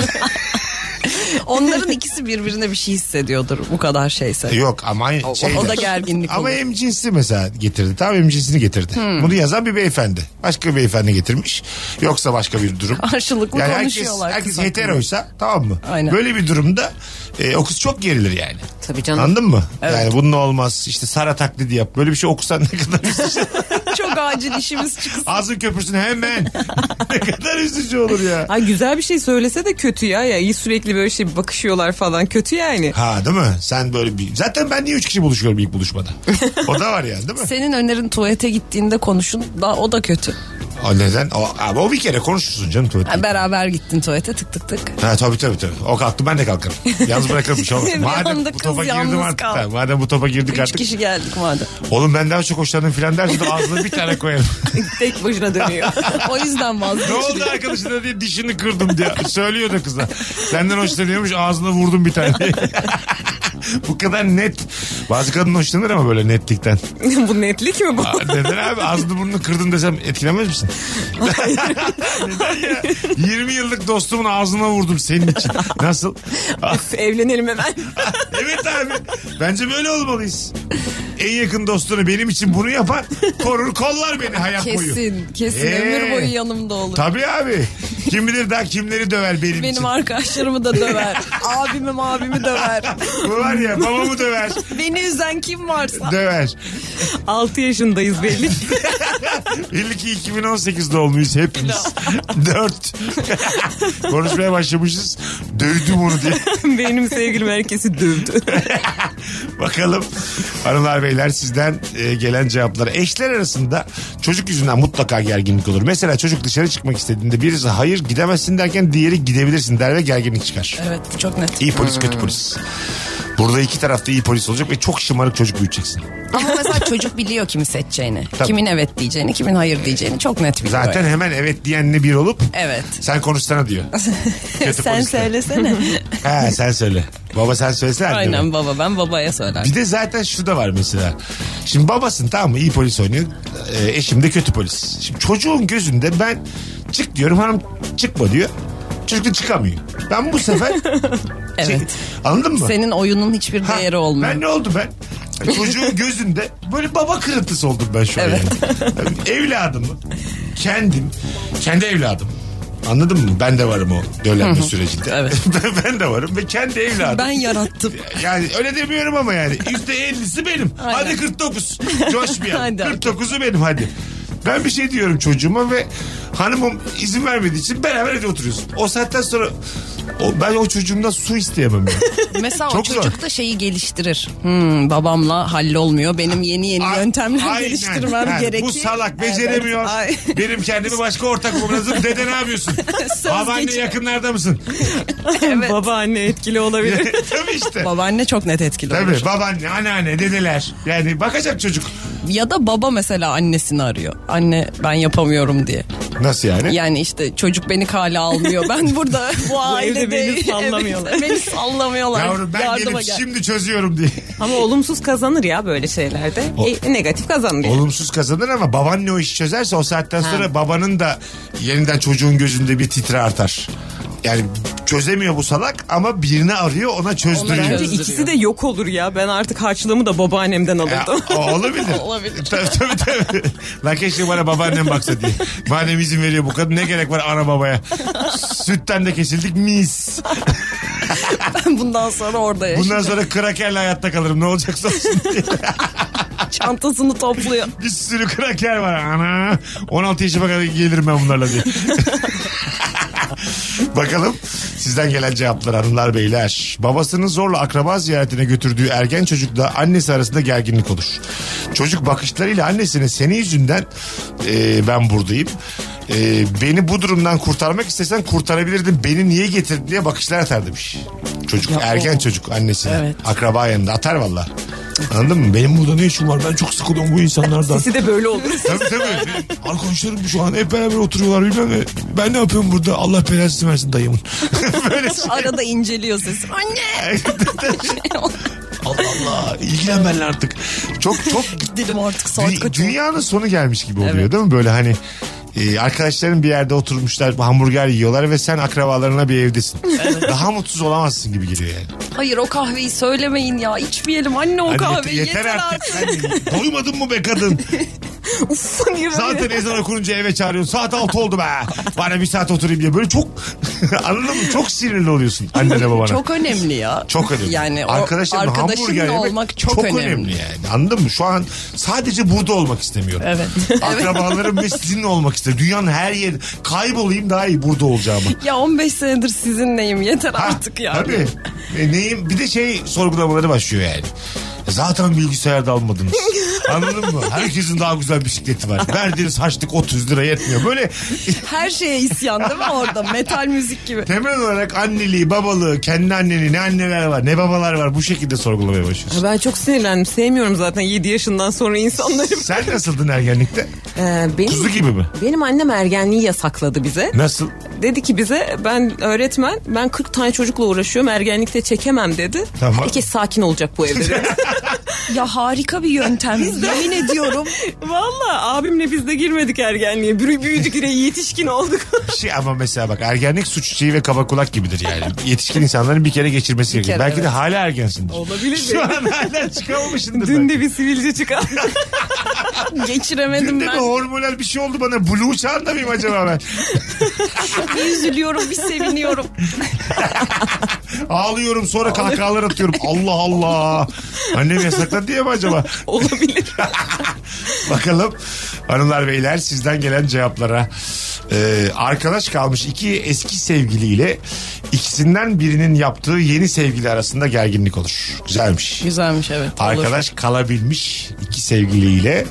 [SPEAKER 4] Onların ikisi birbirine bir şey hissediyordur bu kadar şeyse.
[SPEAKER 3] yok ama şey
[SPEAKER 4] o da
[SPEAKER 3] der.
[SPEAKER 4] gerginlik
[SPEAKER 3] Ama
[SPEAKER 4] olur. Hmm.
[SPEAKER 3] emcinsi mesela getirdi. Tam emcinsini getirdi. Bunu yazan bir beyefendi. Başka bir beyefendi getirmiş. Yoksa başka bir durum.
[SPEAKER 4] Karşılıklı
[SPEAKER 3] Yani herkes,
[SPEAKER 4] konuşuyorlar.
[SPEAKER 3] herkes
[SPEAKER 4] kız hakkında.
[SPEAKER 3] heteroysa tamam mı?
[SPEAKER 4] Aynen.
[SPEAKER 3] Böyle bir durumda e, o kız çok gerilir yani.
[SPEAKER 5] Tabii canım.
[SPEAKER 3] Anladın mı? Yani bunun olmaz. İşte Sara taklidi yap. Böyle bir şey okusan ne kadar üzücü.
[SPEAKER 4] Çok acil işimiz çıksın.
[SPEAKER 3] Ağzın köpürsün hemen. ne kadar üzücü olur ya.
[SPEAKER 5] Ay güzel bir şey söylese de kötü ya. ya sürekli böyle şey bakışıyorlar falan kötü yani.
[SPEAKER 3] Ha değil mi? Sen böyle bir... Zaten ben niye üç kişi buluşuyorum ilk buluşmada? O da var yani değil mi?
[SPEAKER 4] Senin önerin tuvalete gittiğinde konuşun. Daha o da kötü.
[SPEAKER 3] O neden? O, ama o bir kere konuşursun canım tuvalette.
[SPEAKER 4] Ha, beraber gittin tuvalete tık tık tık.
[SPEAKER 3] Ha tabii tabii tabii. O kalktı ben de kalkarım. Yalnız bırakırım. Şu an-
[SPEAKER 4] Bir
[SPEAKER 3] madem
[SPEAKER 4] anda
[SPEAKER 3] bu
[SPEAKER 4] kız
[SPEAKER 3] topa girdim
[SPEAKER 4] yalnız
[SPEAKER 3] artık.
[SPEAKER 4] kaldı.
[SPEAKER 3] Ha, madem bu topa girdik
[SPEAKER 4] Üç
[SPEAKER 3] artık.
[SPEAKER 4] kişi geldik madem.
[SPEAKER 3] Oğlum ben daha çok hoşlandım filan dersin de ağzına bir tane koyarım.
[SPEAKER 5] Tek başına dönüyor.
[SPEAKER 4] o yüzden
[SPEAKER 3] ne oldu
[SPEAKER 4] vazgeçtim.
[SPEAKER 3] arkadaşına diye dişini kırdım diye. Söylüyordu kıza. Senden hoşlanıyormuş ağzına vurdum bir tane diye. Bu kadar net. Bazı kadın hoşlanır ama böyle netlikten.
[SPEAKER 5] bu netlik mi bu?
[SPEAKER 3] Aa, Neden abi ağzını burnunu kırdım desem etkilenmez misin? Neden ya? 20 yıllık dostumun ağzına vurdum senin için. Nasıl? Aa,
[SPEAKER 5] Evlenelim hemen.
[SPEAKER 3] evet abi. Bence böyle olmalıyız. En yakın dostunu benim için bunu yapar. Korur kollar beni hayat boyu.
[SPEAKER 4] Kesin kesin
[SPEAKER 3] Ee,
[SPEAKER 4] ömür boyu yanımda olur.
[SPEAKER 3] Tabii abi. Kim bilir daha kimleri döver benim, için.
[SPEAKER 4] Benim arkadaşlarımı da döver. Abimim abimi döver.
[SPEAKER 3] Bu var ya babamı döver.
[SPEAKER 4] Beni üzen kim varsa.
[SPEAKER 3] Döver.
[SPEAKER 5] 6 yaşındayız belli.
[SPEAKER 3] Belli ki 2018 doğumluyuz hepimiz. Dört. Konuşmaya başlamışız. Dövdüm onu diye.
[SPEAKER 5] Benim sevgilim herkesi dövdü.
[SPEAKER 3] Bakalım hanımlar beyler sizden e, gelen cevaplara. Eşler arasında çocuk yüzünden mutlaka gerginlik olur. Mesela çocuk dışarı çıkmak istediğinde birisi hayır gidemezsin derken diğeri gidebilirsin der ve gerginlik çıkar.
[SPEAKER 4] Evet bu çok net.
[SPEAKER 3] İyi polis kötü polis. Burada iki tarafta iyi polis olacak ve çok şımarık çocuk büyüteceksin.
[SPEAKER 4] Ama mesela çocuk biliyor kimi seçeceğini.
[SPEAKER 3] Tabii.
[SPEAKER 4] Kimin evet diyeceğini, kimin hayır diyeceğini çok net biliyor.
[SPEAKER 3] Zaten
[SPEAKER 4] yani.
[SPEAKER 3] hemen evet diyenle bir olup
[SPEAKER 4] Evet.
[SPEAKER 3] sen konuşsana diyor. Kötü
[SPEAKER 4] Sen
[SPEAKER 3] polisler.
[SPEAKER 4] söylesene.
[SPEAKER 3] He sen söyle. Baba sen söylesene. Aynen.
[SPEAKER 4] Aynen baba ben babaya söylerim.
[SPEAKER 3] Bir de zaten şu da var mesela. Şimdi babasın tamam mı iyi polis oynuyor. Ee, eşim de kötü polis. Şimdi çocuğun gözünde ben çık diyorum hanım çıkma diyor. Çocuk da çıkamıyor. Ben bu sefer...
[SPEAKER 4] Evet.
[SPEAKER 3] Anladın mı?
[SPEAKER 4] Senin oyunun hiçbir
[SPEAKER 3] Ha,
[SPEAKER 4] değeri olmuyor.
[SPEAKER 3] Ben ne oldu ben? E, Çocuğun gözünde böyle baba kırıntısı oldum ben şu an.
[SPEAKER 4] Evet.
[SPEAKER 3] Yani. Evladımı kendim, kendi evladım. Anladın mı? Ben de varım o döllenme sürecinde.
[SPEAKER 4] Evet.
[SPEAKER 3] Ben- ben de varım ve kendi evladım.
[SPEAKER 4] Ben yarattım.
[SPEAKER 3] Yani öyle demiyorum ama yani. Yüzde ellisi benim. Hadi 49. Coşmayalım.
[SPEAKER 4] Hadi.
[SPEAKER 3] 49'u benim hadi. Ben bir şey diyorum çocuğuma ve hanımım izin vermediği için beraber evde oturuyorsun. O saatten sonra o, ben o çocuğumdan su isteyemem. Yani.
[SPEAKER 4] Mesela o
[SPEAKER 3] Çok
[SPEAKER 4] çocuk da şeyi geliştirir. Hmm, babamla hallolmuyor. Benim yeni yeni
[SPEAKER 3] A-
[SPEAKER 4] yöntemler
[SPEAKER 3] Aynen.
[SPEAKER 4] geliştirmem
[SPEAKER 3] Ha,
[SPEAKER 4] gerekiyor.
[SPEAKER 3] Bu salak
[SPEAKER 4] Evet.
[SPEAKER 3] beceremiyor.
[SPEAKER 4] Ay.
[SPEAKER 3] Benim kendimi başka ortak bulmam lazım. Dede ne yapıyorsun? Babaanne
[SPEAKER 4] geçiyor.
[SPEAKER 3] yakınlarda mısın?
[SPEAKER 5] Babaanne etkili olabilir.
[SPEAKER 3] Tabii işte.
[SPEAKER 4] Babaanne çok net etkili olur.
[SPEAKER 3] Tabii babaanne, anneanne, dedeler. Yani bakacak çocuk.
[SPEAKER 4] Ya da baba mesela annesini arıyor. Anne ben yapamıyorum diye.
[SPEAKER 3] Nasıl yani?
[SPEAKER 4] Yani işte çocuk beni kale almıyor. Ben burada bu ailede
[SPEAKER 5] evde beni sallamıyorlar.
[SPEAKER 4] Evet, beni sallamıyorlar.
[SPEAKER 3] Yavrum ben
[SPEAKER 4] Yardıma
[SPEAKER 3] gelip
[SPEAKER 4] gel.
[SPEAKER 3] şimdi çözüyorum diye.
[SPEAKER 5] Ama olumsuz kazanır ya böyle şeylerde. E, negatif kazanır. yani.
[SPEAKER 3] Olumsuz kazanır ama babaanne o işi çözerse o saatten sonra babanın da yeniden çocuğun gözünde bir titre artar. Yani çözemiyor bu salak ama birini arıyor ona çözdürüyor.
[SPEAKER 5] Bence ikisi de yok olur ya. Ben artık harçlığımı da babaannemden
[SPEAKER 3] Ya,
[SPEAKER 5] alırdım.
[SPEAKER 3] o olabilir.
[SPEAKER 4] Olabilir.
[SPEAKER 3] Tabii tabii tabii. Lan keşke bana babaannem baksa diye. Madem izin veriyor bu kadın ne gerek var ana babaya. Sütten de kesildik mis.
[SPEAKER 4] Ben bundan sonra orada yaşayacağım.
[SPEAKER 3] Bundan sonra krakerle hayatta kalırım ne olacaksa olsun diye.
[SPEAKER 4] Çantasını topluyor.
[SPEAKER 3] Bir sürü kraker var ana. 16 yaşıma kadar gelirim ben bunlarla diye. Bakalım sizden gelen cevaplar hanımlar beyler. Babasının zorla akraba ziyaretine götürdüğü ergen çocukla annesi arasında gerginlik olur. Çocuk bakışlarıyla annesine seni yüzünden e, ben buradayım. E, beni bu durumdan kurtarmak istesen kurtarabilirdin. Beni niye getirdin diye bakışlar atar demiş. Çocuk ergen çocuk annesine. Akraba yanında atar valla. Anladın mı? Benim burada ne işim var? Ben çok sıkılıyorum bu insanlardan.
[SPEAKER 5] İkisi de böyle olur.
[SPEAKER 3] Tabii tabii. Arkadaşlarım şu an hep beraber oturuyorlar bilmem ne. Ben ne yapıyorum burada? Allah belasını versin dayımın. Böyle şey.
[SPEAKER 4] Arada inceliyor sesi. Anne
[SPEAKER 3] Allah Allah. İlgilen benimle artık. Çok çok
[SPEAKER 4] dedim artık saat
[SPEAKER 3] dü-
[SPEAKER 4] kaç oldu?
[SPEAKER 3] dünyanın sonu gelmiş gibi oluyor değil mi? Böyle hani e, arkadaşların bir yerde oturmuşlar hamburger yiyorlar ve sen akrabalarına bir evdesin. Daha mutsuz olamazsın gibi geliyor yani.
[SPEAKER 4] Hayır o kahveyi söylemeyin ya. İçmeyelim anne o
[SPEAKER 3] Hani
[SPEAKER 4] kahveyi.
[SPEAKER 3] yeter, yeter artık. Sen doymadın mı be kadın? Zaten ezan okununca eve çağırıyorsun. Saat 6 oldu be. Bana bir saat oturayım diye. Böyle çok anladın mı? Çok sinirli oluyorsun annene babana.
[SPEAKER 4] Çok önemli ya.
[SPEAKER 3] Çok önemli.
[SPEAKER 4] Yani o
[SPEAKER 3] Arkadaşlarınla hamburger
[SPEAKER 4] arkadaşınla
[SPEAKER 3] yemek
[SPEAKER 4] olmak çok, önemli.
[SPEAKER 3] yani. Anladın mı? Şu an sadece burada olmak istemiyorum.
[SPEAKER 4] Evet.
[SPEAKER 3] Akrabalarım ve sizinle olmak istiyorum. Dünyanın her yeri kaybolayım daha iyi burada olacağımı.
[SPEAKER 4] Ya 15 senedir sizinleyim yeter
[SPEAKER 3] Ha,
[SPEAKER 4] artık ya.
[SPEAKER 3] Tabii. E, neyim? Bir de şey sorgulamaları başlıyor yani. Zaten bilgisayarda almadınız. Anladın mı? Herkesin daha güzel bisikleti var. Verdiğiniz harçlık 30 lira yetmiyor. Böyle
[SPEAKER 4] Her şeye isyan değil mi orada? Metal müzik gibi.
[SPEAKER 3] temel olarak anneliği, babalığı, kendi anneni ne anneler var ne babalar var bu şekilde sorgulamaya başlıyorsun.
[SPEAKER 5] Ben çok sinirlendim. Sevmiyorum zaten 7 yaşından sonra insanları.
[SPEAKER 3] Sen nasıldın ergenlikte?
[SPEAKER 5] Ee, benim,
[SPEAKER 3] Kuzu gibi mi?
[SPEAKER 5] benim annem ergenliği yasakladı bize.
[SPEAKER 3] Nasıl?
[SPEAKER 5] Dedi ki bize ben öğretmen ben 40 tane çocukla uğraşıyorum ergenlikte çekemem dedi.
[SPEAKER 3] Tamam.
[SPEAKER 5] Herkes sakin olacak bu evde. dedi.
[SPEAKER 4] Ya harika bir yöntem. Yemin ediyorum.
[SPEAKER 5] Valla abimle biz de girmedik ergenliğe. Büyü- Büyüdük yine yetişkin olduk.
[SPEAKER 3] Bir şey ama mesela bak ergenlik suç çiçeği ve kaba kulak gibidir yani. Yetişkin insanların bir kere geçirmesi gerekiyor.
[SPEAKER 4] kere,
[SPEAKER 3] Belki de hala ergensindir.
[SPEAKER 5] Olabilir
[SPEAKER 3] Şu
[SPEAKER 5] mi?
[SPEAKER 3] an hala çıkamamışsındır.
[SPEAKER 5] Dün
[SPEAKER 3] belki.
[SPEAKER 5] de bir sivilce çıkan.
[SPEAKER 4] Geçiremedim
[SPEAKER 3] Dün de bir
[SPEAKER 4] ben.
[SPEAKER 3] hormonal bir şey oldu bana. Blue çağında mıyım acaba ben?
[SPEAKER 4] Bir üzülüyorum bir seviniyorum.
[SPEAKER 3] Ağlıyorum sonra kahkahalar atıyorum. Allah Allah. Annem yasakladı diye mi acaba?
[SPEAKER 5] Olabilir.
[SPEAKER 3] Bakalım hanımlar beyler sizden gelen cevaplara. Ee, arkadaş kalmış iki eski sevgiliyle ikisinden birinin yaptığı yeni sevgili arasında gerginlik olur. Güzelmiş.
[SPEAKER 4] Güzelmiş evet. olur.
[SPEAKER 3] Arkadaş kalabilmiş iki sevgiliyle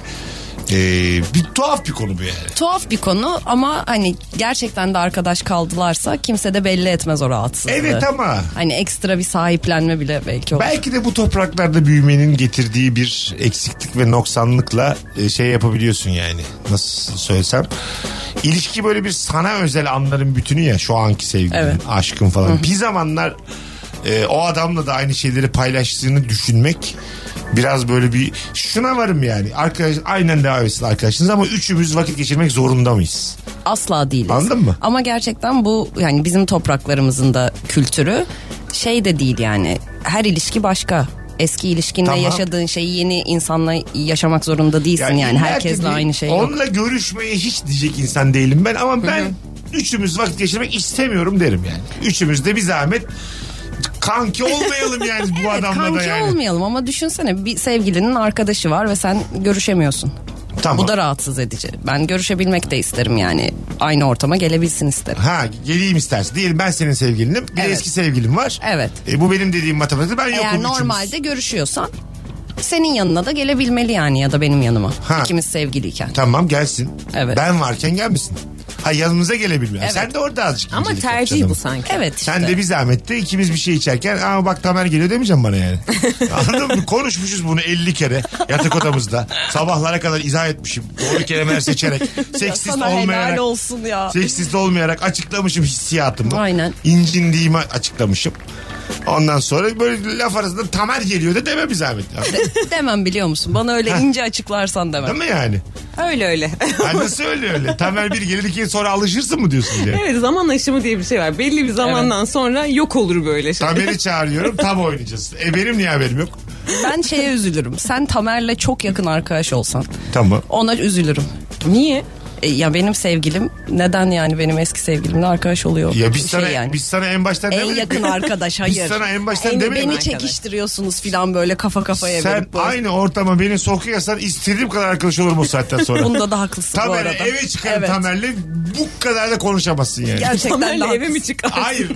[SPEAKER 3] Ee, bir tuhaf bir konu bu yani.
[SPEAKER 4] Tuhaf bir konu ama hani gerçekten de arkadaş kaldılarsa kimse de belli etmez o rahatsızlığı.
[SPEAKER 3] Evet ama.
[SPEAKER 4] Hani ekstra bir sahiplenme bile belki olur.
[SPEAKER 3] Belki de bu topraklarda büyümenin getirdiği bir eksiklik ve noksanlıkla e, şey yapabiliyorsun yani. Nasıl söylesem. İlişki böyle bir sana özel anların bütünü ya şu anki sevgilin,
[SPEAKER 4] Evet.
[SPEAKER 3] aşkın falan. bir zamanlar e, o adamla da aynı şeyleri paylaştığını düşünmek biraz böyle bir şuna varım yani. Arkadaş aynen devam etsin arkadaşınız ama üçümüz vakit geçirmek zorunda mıyız?
[SPEAKER 4] Asla değiliz.
[SPEAKER 3] Anladın mı?
[SPEAKER 4] Ama gerçekten bu yani bizim topraklarımızın da kültürü şey de değil yani. Her ilişki başka. Eski ilişkinle
[SPEAKER 3] Tamam.
[SPEAKER 4] yaşadığın şeyi yeni insanla yaşamak zorunda değilsin yani.
[SPEAKER 3] illa ki
[SPEAKER 4] herkesle
[SPEAKER 3] bir-
[SPEAKER 4] aynı şey yok.
[SPEAKER 3] Onunla görüşmeye hiç diyecek insan değilim ben ama ben üçümüz vakit geçirmek istemiyorum derim yani. Üçümüz de bir zahmet kanki olmayalım yani bu adamla da
[SPEAKER 4] Kanki
[SPEAKER 3] yani.
[SPEAKER 4] olmayalım ama düşünsene bir sevgilinin arkadaşı var ve sen görüşemiyorsun.
[SPEAKER 3] Tamam.
[SPEAKER 4] Bu da rahatsız edici. Ben görüşebilmek de isterim yani. Aynı ortama gelebilsin isterim.
[SPEAKER 3] Ha geleyim istersen. Diyelim ben senin sevgilinim. Bir de
[SPEAKER 4] Evet.
[SPEAKER 3] eski sevgilim var.
[SPEAKER 4] Evet.
[SPEAKER 3] E, bu benim dediğim matematikte ben yokum
[SPEAKER 4] Eğer
[SPEAKER 3] üçümüz.
[SPEAKER 4] normalde görüşüyorsan senin yanına da gelebilmeli yani ya da benim yanıma.
[SPEAKER 3] Ha.
[SPEAKER 4] İkimiz sevgiliyken.
[SPEAKER 3] Tamam gelsin.
[SPEAKER 4] Evet.
[SPEAKER 3] Ben varken gelmesin. Ha yanımıza gelebilmiyor.
[SPEAKER 4] Evet.
[SPEAKER 3] Sen de orada azıcık.
[SPEAKER 5] Ama
[SPEAKER 3] incelik yap
[SPEAKER 5] tercih
[SPEAKER 3] canım.
[SPEAKER 5] bu sanki.
[SPEAKER 4] Evet işte.
[SPEAKER 3] Sen de bir zahmet de ikimiz bir şey içerken aa bak Tamer geliyor demeyeceğim bana yani. Anladın mı? Konuşmuşuz bunu 50 kere yatak odamızda. Sabahlara kadar izah etmişim. Doğru kelimeler seçerek. Seksist
[SPEAKER 4] Sana helal
[SPEAKER 3] olmayarak.
[SPEAKER 4] olsun ya.
[SPEAKER 3] Seksist olmayarak açıklamışım hissiyatımı.
[SPEAKER 4] Aynen.
[SPEAKER 3] İncindiğimi açıklamışım. Ondan sonra böyle laf arasında Tamer geliyor da deme bir zahmet.
[SPEAKER 4] demem biliyor musun? Bana öyle ince açıklarsan demem.
[SPEAKER 3] Değil mi yani?
[SPEAKER 5] Öyle öyle.
[SPEAKER 3] Ha, nasıl öyle öyle? Tamer bir gelir ikiye sonra alışırsın mı diyorsun diye.
[SPEAKER 5] evet zaman aşımı diye bir şey var. Belli bir zamandan sonra yok olur böyle şey.
[SPEAKER 3] Tamer'i çağırıyorum tam oynayacağız. E benim niye haberim yok?
[SPEAKER 4] Ben şeye üzülürüm. Sen Tamer'le çok yakın arkadaş olsan
[SPEAKER 3] Tamam.
[SPEAKER 4] ona üzülürüm.
[SPEAKER 5] Niye?
[SPEAKER 4] E, ya benim sevgilim neden yani benim eski sevgilimle arkadaş oluyor?
[SPEAKER 3] Ya biz
[SPEAKER 4] Şey
[SPEAKER 3] sana
[SPEAKER 4] yani.
[SPEAKER 3] biz sana en baştan
[SPEAKER 4] en
[SPEAKER 3] demedik
[SPEAKER 4] yakın
[SPEAKER 3] mi?
[SPEAKER 4] arkadaş hayır.
[SPEAKER 3] Biz sana en baştan
[SPEAKER 4] Beni-
[SPEAKER 3] demedik
[SPEAKER 4] Beni
[SPEAKER 3] mi?
[SPEAKER 4] çekiştiriyorsunuz filan böyle kafa kafaya
[SPEAKER 3] Sen
[SPEAKER 4] verip. böyle.
[SPEAKER 3] aynı ortama beni sokuyorsan istediğim kadar arkadaş olurum o saatten sonra.
[SPEAKER 4] Bunda da haklısın bu
[SPEAKER 3] Tamer'e
[SPEAKER 4] arada.
[SPEAKER 3] eve çıkarım
[SPEAKER 4] Evet.
[SPEAKER 3] Tamer'le bu kadar da konuşamazsın yani.
[SPEAKER 4] Gerçekten de
[SPEAKER 5] Tamer'le eve
[SPEAKER 4] haklısın.
[SPEAKER 5] mi çıkarsın?
[SPEAKER 3] Hayır.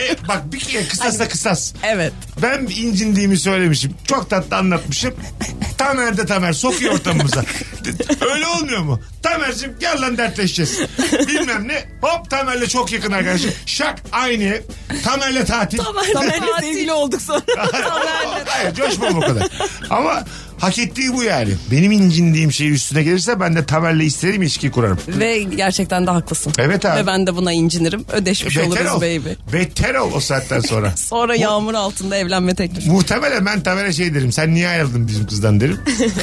[SPEAKER 3] E, bak bir kere kısas da kısas.
[SPEAKER 4] Evet.
[SPEAKER 3] Ben incindiğimi söylemişim. Çok tatlı anlatmışım. Tamer de Tamer sokuyor ortamımıza. Öyle olmuyor mu? Tamer'cim gel lan dertleşeceğiz. Bilmem ne. Hop Tamer'le çok yakın arkadaşım. Şak aynı ev. Tamer'le tatil.
[SPEAKER 5] Tamer'le sevgili olduk sonra.
[SPEAKER 3] Hayır coşmam o kadar. Ama hak ettiği bu yani. Benim incindiğim şey üstüne gelirse ben de Tamer'le isterim ilişki kurarım.
[SPEAKER 4] Ve gerçekten de haklısın.
[SPEAKER 3] Evet abi.
[SPEAKER 4] Ve ben de buna incinirim. Ödeşmiş oluruz baby.
[SPEAKER 3] Beter ol o saatten sonra.
[SPEAKER 4] Sonra yağmur altında evlenme teklifi.
[SPEAKER 3] Muhtemelen ben Tamer'e şey derim. Sen niye ayrıldın bizim kızdan derim.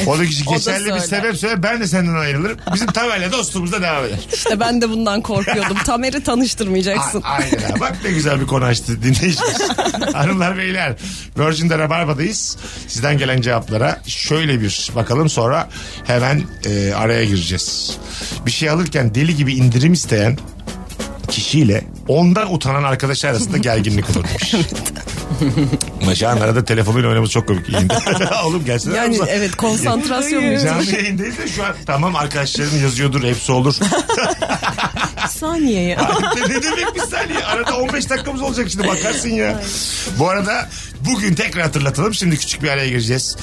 [SPEAKER 3] O da kişi
[SPEAKER 4] da
[SPEAKER 3] geçerli bir
[SPEAKER 4] söyler.
[SPEAKER 3] sebep söyler. Ben de senden ayrılırım. Bizim Tamer'le dostluğumuzda devam eder.
[SPEAKER 4] İşte ben de bundan korkuyordum. Tamer'i tanıştırmayacaksın.
[SPEAKER 3] A- aynen. ha. Bak ne güzel bir konu açtı dinleyicimiz. Hanımlar beyler Virgin'de Rabarba'dayız. Sizden gelen cevaplara şöyle bir bakalım sonra hemen e, araya gireceğiz. Bir şey alırken deli gibi indirim isteyen kişiyle ondan utanan arkadaşlar arasında gerginlik olur demiş. Maşa'nın arada telefonuyla oynaması çok komik. yayında. Oğlum gelsene.
[SPEAKER 4] Yani
[SPEAKER 3] aramıza.
[SPEAKER 4] evet konsantrasyon mücadele.
[SPEAKER 3] Canlı yayındayız da şu an tamam arkadaşların yazıyordur hepsi olur.
[SPEAKER 5] Bir saniye ya.
[SPEAKER 3] Ay, ne demek bir saniye? Arada 15 dakikamız olacak şimdi bakarsın ya. Bu arada bugün tekrar hatırlatalım. Şimdi küçük bir araya gireceğiz.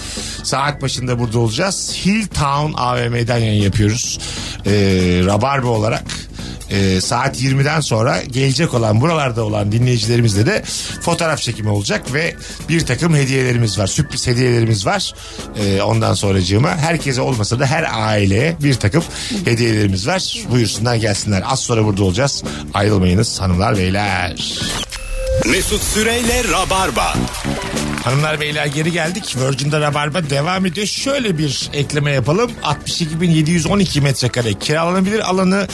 [SPEAKER 3] Saat başında burada olacağız. Hilltown AVM'den yayın yapıyoruz. Ee, Rabarbe olarak. Ee, saat 20'den sonra gelecek olan buralarda olan dinleyicilerimizle de fotoğraf çekimi olacak ve bir takım hediyelerimiz var. Sürpriz hediyelerimiz var. Ee, ondan sonracığıma herkese olmasa da her aileye bir takım hediyelerimiz var. Buyursunlar gelsinler. Az sonra burada olacağız. Ayrılmayınız hanımlar beyler.
[SPEAKER 2] Mesut Süreyle Rabarba.
[SPEAKER 3] Hanımlar beyler geri geldik. Virgin'de Rabarba devam ediyor. Şöyle bir ekleme yapalım. 62.712 metrekare kiralanabilir alanı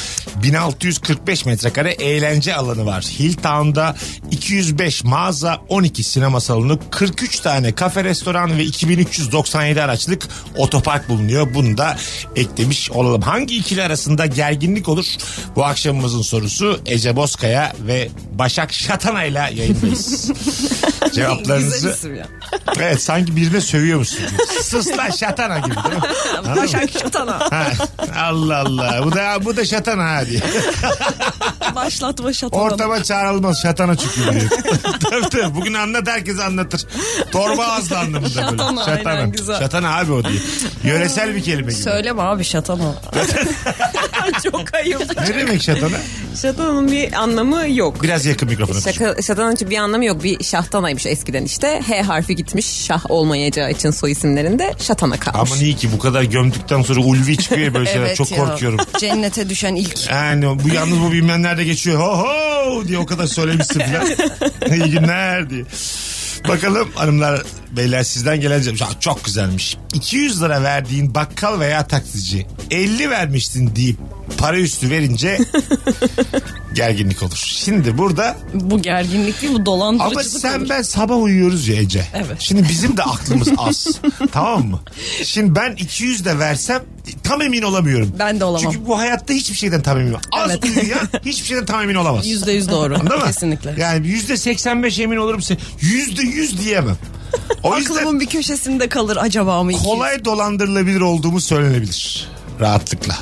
[SPEAKER 3] 1645 metrekare eğlence alanı var. Hilltown'da 205 mağaza 12 sinema salonu 43 tane kafe restoran ve 2397 araçlık otopark bulunuyor. Bunu da eklemiş olalım. Hangi ikili arasında gerginlik olur? Bu akşamımızın sorusu Ece Bozkaya ve Başak Şatana ile yayındayız. Cevaplarınızı
[SPEAKER 5] oluyor.
[SPEAKER 3] Evet sanki birine sövüyormuşsun. gibi. Sus lan şatana gibi değil mi? Anladın mı?
[SPEAKER 5] Başak şatana.
[SPEAKER 3] Ha, Allah Allah. Bu da bu da şatana ha diye.
[SPEAKER 5] Başlatma şatana.
[SPEAKER 3] Ortama çağrılmaz şatana çıkıyor. diye. tabii tabii. Bugün anlat herkes anlatır. Torba ağızlı anlamında böyle.
[SPEAKER 5] Şatana, aynen, güzel.
[SPEAKER 3] Şatana abi o diye. Yöresel bir kelime gibi.
[SPEAKER 4] Söyleme abi şatan o.
[SPEAKER 5] Çok ayıp.
[SPEAKER 3] Ne demek şatana?
[SPEAKER 5] Şatanın bir anlamı yok.
[SPEAKER 3] Biraz yakın mikrofonu.
[SPEAKER 5] Şaka, şatanın çünkü bir anlamı yok. Bir şahtanaymış eskiden işte. H harfi gitmiş şah olmayacağı için soy isimlerinde şatana kalmış.
[SPEAKER 3] Ama niye ki bu kadar gömdükten sonra ulvi çıkıyor ya böyle şeyler. Çok
[SPEAKER 4] ya.
[SPEAKER 3] korkuyorum.
[SPEAKER 4] Cennete düşen ilk.
[SPEAKER 3] Yani bu yalnız bu bilmeyenler de geçiyor. Ho ho diye o kadar söylemişsin falan. İyi günler diye. Bakalım hanımlar beyler sizden gelen cevap. Aa, Çok güzelmiş. 200 lira verdiğin bakkal veya taksici 50 vermiştin deyip para üstü verince gerginlik olur. Şimdi burada
[SPEAKER 4] Bu gerginlik değil bu
[SPEAKER 3] ama
[SPEAKER 4] dolandırıcılık.
[SPEAKER 3] sen ben sabah uyuyoruz ya Ece. Şimdi bizim de aklımız az. tamam mı? Şimdi ben 200 de versem tam emin olamıyorum.
[SPEAKER 4] Ben de olamam.
[SPEAKER 3] Çünkü bu hayatta hiçbir şeyden tam emin olamam. Az
[SPEAKER 4] Evet.
[SPEAKER 3] uyuyan hiçbir şeyden tam emin olamaz.
[SPEAKER 4] Yüzde yüz doğru.
[SPEAKER 3] Değil mi?
[SPEAKER 4] Kesinlikle.
[SPEAKER 3] Yani yüzde 85 emin olurum. se- Yüzde yüz diyemem. O yüzden
[SPEAKER 4] Aklımın bir köşesinde kalır acaba mı?
[SPEAKER 3] kolay dolandırılabilir olduğumu söylenebilir. Rahatlıkla.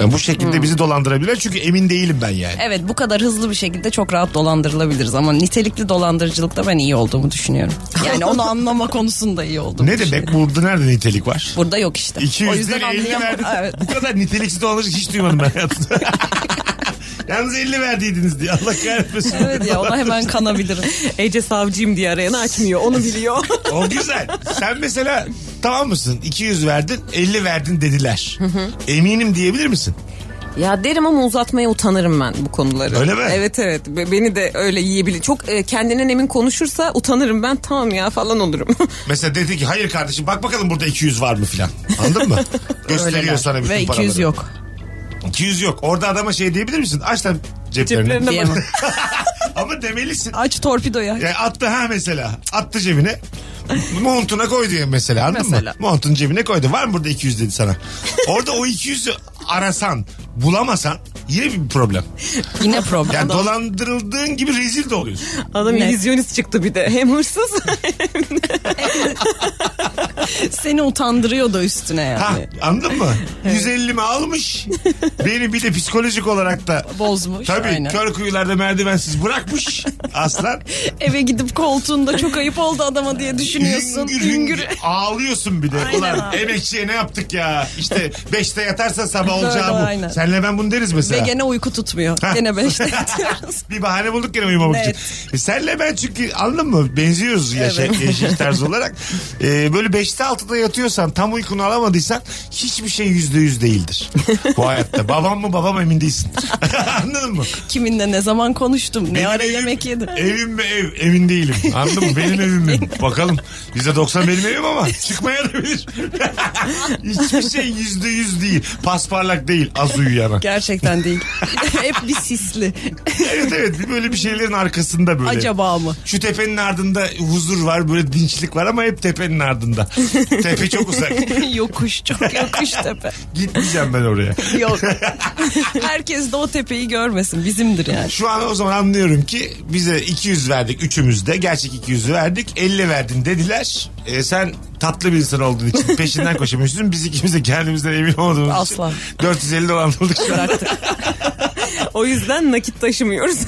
[SPEAKER 3] Yani bu şekilde bizi dolandırabilirler çünkü emin değilim ben yani.
[SPEAKER 4] Hmm. Evet bu kadar hızlı bir şekilde çok rahat dolandırılabiliriz ama nitelikli dolandırıcılıkta ben iyi olduğumu düşünüyorum. Yani onu anlama konusunda iyi oldum.
[SPEAKER 3] Ne demek burada nerede nitelik var?
[SPEAKER 4] Burada yok işte.
[SPEAKER 3] 200
[SPEAKER 4] o yüzden
[SPEAKER 3] lira 50 verdi.
[SPEAKER 4] anlayamadım. Evet.
[SPEAKER 3] Bu kadar niteliksiz dolandırıcı hiç duymadım ben hayatımda. Yalnız 50 verdiydiniz diye Allah kahretmesin.
[SPEAKER 4] Evet ya ona hemen kanabilirim.
[SPEAKER 5] Ece savcıyım diye arayanı açmıyor. Onu biliyor.
[SPEAKER 3] O güzel. Sen mesela tamam mısın? 200 verdin 50 verdin dediler. Eminim diyebilir misin?
[SPEAKER 5] ya derim ama uzatmaya utanırım ben bu konuları.
[SPEAKER 3] Öyle mi?
[SPEAKER 5] Evet evet. Be- Beni de öyle yiyebilir. Çok e, kendinden emin konuşursa utanırım ben. Tamam ya falan olurum.
[SPEAKER 3] Mesela dedi ki hayır kardeşim bak bakalım burada 200 var mı filan. Anladın mı? Gösteriyor
[SPEAKER 4] Öyleler.
[SPEAKER 3] sana bütün
[SPEAKER 4] Ve 200
[SPEAKER 3] paraları.
[SPEAKER 4] yok.
[SPEAKER 3] 200 yok. Orada adama şey diyebilir misin? Aç lan ceplerini.
[SPEAKER 5] Ceplerine bak.
[SPEAKER 4] Diyemem.
[SPEAKER 3] Ama demelisin.
[SPEAKER 4] Aç torpidoya.
[SPEAKER 3] Yani E, attı ha mesela. Attı cebine. Montuna koydu ya mesela anladın
[SPEAKER 4] Mesela.
[SPEAKER 3] mı? Montun cebine koydu. Var mı burada 200 dedi sana. Orada o 200'ü arasan, bulamasan yine bir problem.
[SPEAKER 4] Yine problem.
[SPEAKER 3] Yani dolandırıldığın gibi rezil de oluyorsun.
[SPEAKER 5] Adam
[SPEAKER 4] Ne?
[SPEAKER 5] illüzyonist çıktı bir de. Hem hırsız.
[SPEAKER 4] Seni utandırıyor da üstüne yani.
[SPEAKER 3] Ha, anladın mı? 150 mi almış? Beni bir de psikolojik olarak da
[SPEAKER 4] Bozmuş.
[SPEAKER 3] Tabii
[SPEAKER 4] aynen.
[SPEAKER 3] kör kuyularda merdivensiz bırakmış aslan.
[SPEAKER 4] Eve gidip koltuğunda çok ayıp oldu adama diye düşünüyorsun.
[SPEAKER 3] Hüngür hüngür ağlıyorsun bir de. Ulan emekçiye ne yaptık ya? İşte 5'te yatarsa sabah olacağı bu.
[SPEAKER 4] aynen.
[SPEAKER 3] Senle ben bunu deriz
[SPEAKER 4] Ve
[SPEAKER 3] mesela.
[SPEAKER 4] gene uyku tutmuyor.
[SPEAKER 3] Ha.
[SPEAKER 4] Gene beşte yatıyoruz.
[SPEAKER 3] bir bahane bulduk gene uyumamak
[SPEAKER 4] Evet.
[SPEAKER 3] için. E senle ben çünkü anladın mı? Benziyoruz yaşa, yaşayış tarzı olarak. E, böyle 5'te 6'da yatıyorsan tam uykunu alamadıysan hiçbir şey %100 değildir. Bu hayatta. Babam mı babam emin değilsin. Anladın mı?
[SPEAKER 4] Kiminle ne zaman konuştum? Ne
[SPEAKER 3] Benim
[SPEAKER 4] ara
[SPEAKER 3] evim-
[SPEAKER 4] yemek yedim?
[SPEAKER 3] Evim mi ev? Emin değilim. Anladın mı? Benim evim mi? Bakalım. %90 benim evim ama çıkmaya da bilir. Hiçbir şey %100 değil. Pasparlak değil. Az uyuyana.
[SPEAKER 4] Gerçekten değil. Hep bir sisli.
[SPEAKER 3] evet evet bir böyle bir şeylerin arkasında böyle.
[SPEAKER 4] Acaba mı?
[SPEAKER 3] Şu tepenin ardında huzur var böyle dinçlik var ama hep tepenin ardında. Tepe çok uzak.
[SPEAKER 4] yokuş çok yokuş tepe.
[SPEAKER 3] Gitmeyeceğim ben oraya.
[SPEAKER 4] Yok. Herkes de o tepeyi görmesin. Bizimdir yani.
[SPEAKER 3] Şu an o zaman anlıyorum ki bize 200 verdik üçümüz de gerçek 200'ü verdik 50 verdin dediler. E, sen tatlı bir insan olduğun için peşinden koşamıyorsun. Biz ikimiz de kendimizden emin olmadığımız
[SPEAKER 4] Asla.
[SPEAKER 3] için 450 dolandırdık.
[SPEAKER 5] o yüzden nakit taşımıyoruz.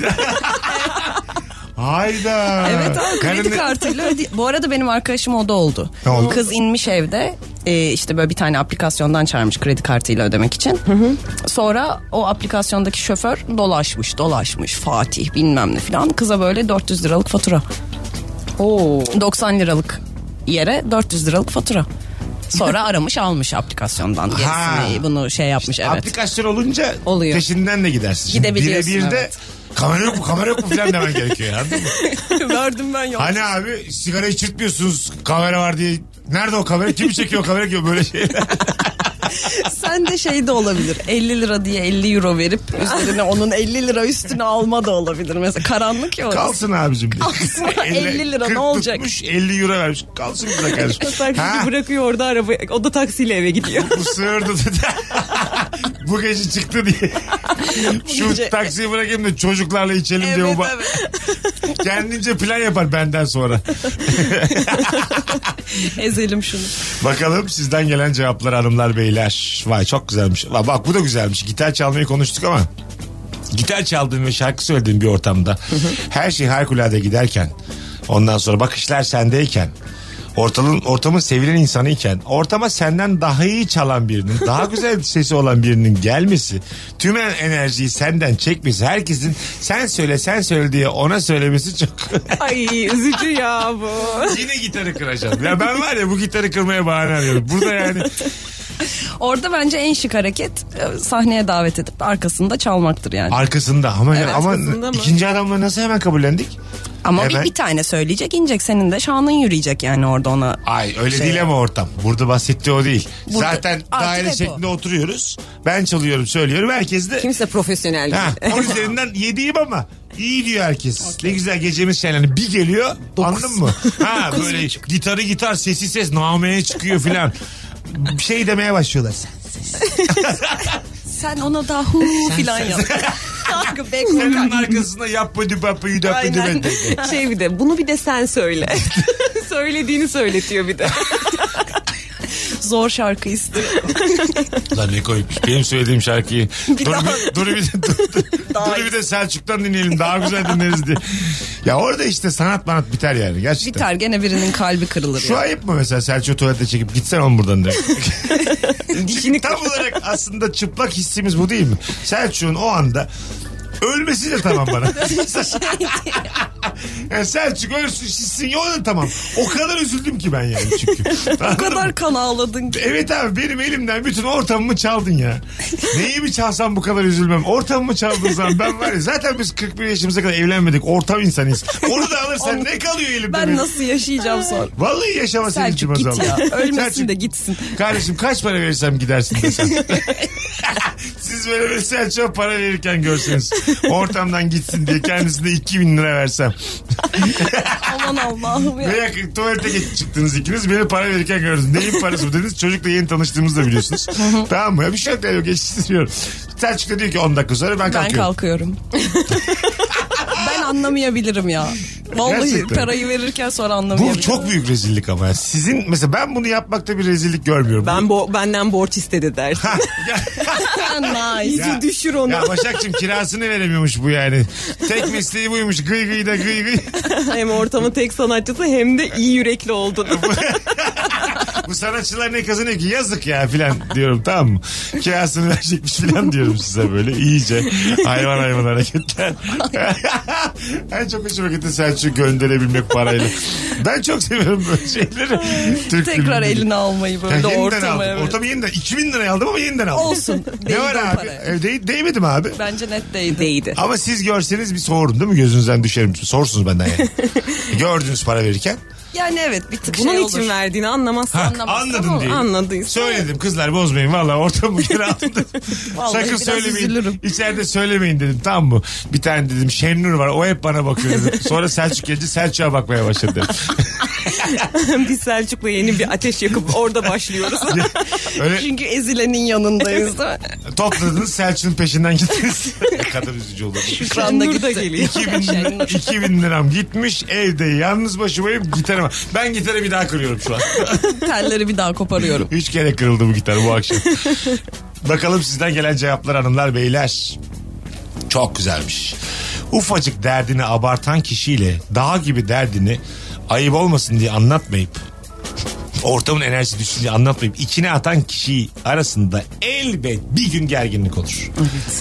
[SPEAKER 3] Hayda.
[SPEAKER 4] Evet ama kredi
[SPEAKER 3] Karın-
[SPEAKER 4] kartıyla öde- Bu arada benim arkadaşım o da oldu.
[SPEAKER 3] Ne oldu?
[SPEAKER 4] Kız inmiş evde e, işte böyle bir tane aplikasyondan çağırmış kredi kartıyla ödemek için. Sonra o aplikasyondaki şoför dolaşmış dolaşmış Fatih bilmem ne filan. Kıza böyle 400 liralık fatura.
[SPEAKER 5] Oo.
[SPEAKER 4] 90 liralık yere 400 liralık fatura. Sonra aramış almış aplikasyondan gerisini bunu şey yapmış evet.
[SPEAKER 3] Aplikasyon olunca
[SPEAKER 4] Oluyor.
[SPEAKER 3] peşinden de gidersin. Şimdi
[SPEAKER 4] Gidebiliyorsun,
[SPEAKER 3] Birebir de
[SPEAKER 4] evet.
[SPEAKER 3] kamera yok mu kamera yok mu falan demen gerekiyor. Anladın mı?
[SPEAKER 4] Verdim ben yok.
[SPEAKER 3] Hani abi sigara içirtmiyorsunuz kamera var diye. Nerede o kamera? Kim çekiyor o kamera gibi böyle şey şeyler.
[SPEAKER 4] Sen de şey de olabilir. 50 lira diye 50 euro verip üzerine onun 50 lira üstüne alma da olabilir. Mesela karanlık ya orası.
[SPEAKER 3] Kalsın abicim diye.
[SPEAKER 4] Kalsın. 50 lira, ne
[SPEAKER 3] 40
[SPEAKER 4] olacak?
[SPEAKER 3] Tutmuş, 50 euro vermiş. Kalsın bize kardeşim. ha,
[SPEAKER 5] bırakıyor orada araba. O da taksiyle eve gidiyor.
[SPEAKER 3] bu sığırdı dedi. bu gece çıktı diye. Şu taksiye bırakayım da çocuklarla içelim diye
[SPEAKER 5] Evet,
[SPEAKER 3] baba. Kendince plan yapar benden sonra.
[SPEAKER 4] Ezelim şunu.
[SPEAKER 3] Bakalım sizden gelen cevaplar hanımlar beyler. Vay çok güzelmiş. Vay, bak bu da güzelmiş. Gitar çalmayı konuştuk ama gitar çaldığın ve şarkı söylediğin bir ortamda her şey harikulade giderken ondan sonra bakışlar sendeyken ortalığın, ortamın sevilen insanıyken ortama senden daha iyi çalan birinin daha güzel sesi olan birinin gelmesi tüm en- enerjiyi senden çekmesi herkesin sen söyle sen söyle diye ona söylemesi çok
[SPEAKER 5] Ay üzücü ya bu.
[SPEAKER 3] yine gitarı kıracağım ya ben var ya bu gitarı kırmaya bahane arıyorum burada yani
[SPEAKER 4] Orada bence en şık hareket e, sahneye davet edip arkasında çalmaktır yani.
[SPEAKER 3] Arkasında ama ama
[SPEAKER 5] arkasında mı?
[SPEAKER 3] ikinci adamla nasıl hemen kabullendik?
[SPEAKER 4] Ama bir,
[SPEAKER 3] hemen-
[SPEAKER 4] bir tane söyleyecek inecek senin de şanın yürüyecek yani orada ona.
[SPEAKER 3] Ay öyle
[SPEAKER 4] Şey-
[SPEAKER 3] değil ama ortam. Burada bahsettiği o değil.
[SPEAKER 4] Burada-
[SPEAKER 3] Zaten
[SPEAKER 4] Artık
[SPEAKER 3] daire
[SPEAKER 4] hep o.
[SPEAKER 3] şeklinde oturuyoruz. Ben çalıyorum, söylüyorum. Herkes de
[SPEAKER 5] Kimse profesyonel değil.
[SPEAKER 3] ha, o üzerinden yediyim ama iyi diyor herkes. Ne güzel gecemiz şenlendi. Bir geliyor anladın mı? Ha böyle gitarı gitar sesi ses nameye çıkıyor filan. Bir şey demeye başlıyorlar.
[SPEAKER 4] Sen ona daha hu filan yap. Arka back
[SPEAKER 3] Sen onun
[SPEAKER 4] vocal.
[SPEAKER 3] arkasında yapmadı papayı döpüdü
[SPEAKER 5] Aynen. Şey bir de bunu bir de sen söyle. Söylediğini söyletiyor bir de.
[SPEAKER 4] Zor şarkı istiyor.
[SPEAKER 3] Lan ne koymuş. Benim söylediğim şarkıyı. Dur bir, dur bir de, dur, dur-
[SPEAKER 4] Daha
[SPEAKER 3] dur bir de Selçuk'tan dinleyelim. Daha güzel dinleriz diye. Ya orada işte sanat manat biter yani gerçekten.
[SPEAKER 4] Biter gene birinin kalbi kırılır.
[SPEAKER 3] Şu
[SPEAKER 4] yani.
[SPEAKER 3] ayıp mı mesela Selçuk'u tuvalete çekip gitsen on buradan de. Çünkü tam olarak aslında çıplak hissimiz bu değil mi? Selçuk'un o anda ölmesi de tamam bana. yani Selçuk ölsün şişsin ya o da tamam. O kadar üzüldüm ki ben yani çünkü.
[SPEAKER 4] O kadar kan ağladın ki.
[SPEAKER 3] Evet abi benim elimden bütün ortamımı çaldın ya. Neyi mi çalsam bu kadar üzülmem. Ortamımı çaldığın zaman ben var ya zaten biz 41 yaşımıza kadar evlenmedik. Ortam insanıyız. Onu da alırsan ne kalıyor elimde?
[SPEAKER 4] Ben
[SPEAKER 3] benim?
[SPEAKER 4] nasıl yaşayacağım sonra?
[SPEAKER 3] Vallahi yaşamasın
[SPEAKER 4] Selçuk
[SPEAKER 3] içim
[SPEAKER 4] git ya.
[SPEAKER 3] azaldı.
[SPEAKER 4] Ölmesin
[SPEAKER 3] Selçuk,
[SPEAKER 4] de gitsin.
[SPEAKER 3] Kardeşim kaç para verirsem gidersin desen. Siz böyle bir Selçuk'a para verirken görseniz. Ortamdan gitsin diye kendisine 2000 lira versem.
[SPEAKER 4] Aman Allah'ım ya.
[SPEAKER 3] Veya tuvalete geç çıktınız ikiniz beni para verirken gördünüz. Neyin parası bu dediniz. Çocukla yeni tanıştığımızı da biliyorsunuz. tamam mı? Bir şey yok, yok geçiştiriyorum. Selçuk da diyor ki 10 dakika sonra ben
[SPEAKER 4] Ben
[SPEAKER 3] kalkıyorum.
[SPEAKER 4] kalkıyorum. ben anlamayabilirim ya. Vallahi
[SPEAKER 3] Gerçekten.
[SPEAKER 4] parayı verirken sonra
[SPEAKER 3] bu
[SPEAKER 4] anlamayabilirim.
[SPEAKER 3] çok büyük rezillik ama. Sizin mesela ben bunu yapmakta bir rezillik görmüyorum.
[SPEAKER 5] Ben bo- benden borç istedi dersin.
[SPEAKER 4] nice.
[SPEAKER 3] Ya-
[SPEAKER 5] düşür onu.
[SPEAKER 3] Ya Başakçım kirasını veremiyormuş bu yani. Tek mesleği buymuş gıy gıy da gıy gıy.
[SPEAKER 5] hem ortamın tek sanatçısı hem de iyi yürekli oldun.
[SPEAKER 3] bu sanatçılar ne kazanıyor ki yazık ya filan diyorum tamam mı? Kirasını verecekmiş filan diyorum size böyle iyice hayvan hayvan hareketler. en çok hoşuma gitti Selçuk gönderebilmek parayla. Ben çok seviyorum böyle şeyleri. Türk
[SPEAKER 4] Tekrar
[SPEAKER 3] filmleri.
[SPEAKER 4] eline almayı
[SPEAKER 3] Ya
[SPEAKER 4] böyle
[SPEAKER 3] yeniden
[SPEAKER 4] ortama.
[SPEAKER 3] aldım.
[SPEAKER 4] evet.
[SPEAKER 3] Ortamı yeniden. 2000 liraya aldım ama yeniden aldım.
[SPEAKER 4] Olsun.
[SPEAKER 3] Ne
[SPEAKER 4] Değdi
[SPEAKER 3] var
[SPEAKER 4] o
[SPEAKER 3] abi?
[SPEAKER 4] paraya.
[SPEAKER 3] E, Değ, değmedim abi.
[SPEAKER 4] Bence net değdi.
[SPEAKER 5] Değdi.
[SPEAKER 3] Ama siz görseniz bir sorun değil mi? Gözünüzden düşerim. Sorsunuz benden yani. Gördünüz para verirken.
[SPEAKER 4] Yani evet bir tık
[SPEAKER 5] Bunun
[SPEAKER 4] şey
[SPEAKER 5] için
[SPEAKER 4] olur.
[SPEAKER 5] verdiğini anlamazsın.
[SPEAKER 3] Ha,
[SPEAKER 5] Anlamazsın
[SPEAKER 3] anladın
[SPEAKER 5] ama
[SPEAKER 3] diye.
[SPEAKER 5] Anladıysa.
[SPEAKER 3] Söyledim kızlar bozmayın valla ortamı geri aldım.
[SPEAKER 4] Vallahi
[SPEAKER 3] Sakın
[SPEAKER 4] biraz
[SPEAKER 3] söylemeyin.
[SPEAKER 4] üzülürüm.
[SPEAKER 3] İçeride söylemeyin dedim tamam mı? Bir tane dedim Şenur var o hep bana bakıyor dedim. Sonra Selçuk gelince Selçuk'a bakmaya başladı dedim.
[SPEAKER 5] Biz Selçuk'la yeni bir ateş yakıp orada başlıyoruz.
[SPEAKER 3] Öyle
[SPEAKER 4] Çünkü ezilenin yanındayız değil mi?
[SPEAKER 3] topladınız Selçuk'un peşinden gittiniz. ne kadar üzücü olur.
[SPEAKER 4] Şu şey anda
[SPEAKER 5] Nur da
[SPEAKER 4] gitti.
[SPEAKER 5] geliyor.
[SPEAKER 3] 2000, lira- 2000 liram gitmiş evde yalnız başımayım gitarıma. Ben gitarı bir daha kırıyorum şu an.
[SPEAKER 4] Telleri bir daha koparıyorum.
[SPEAKER 3] Üç kere kırıldı bu gitar bu akşam. Bakalım sizden gelen cevaplar hanımlar beyler. Çok güzelmiş. Ufacık derdini abartan kişiyle dağ gibi derdini ayıp olmasın diye anlatmayıp ortamın enerjisi düşünce anlatmayıp içine atan kişi arasında elbet bir gün gerginlik olur.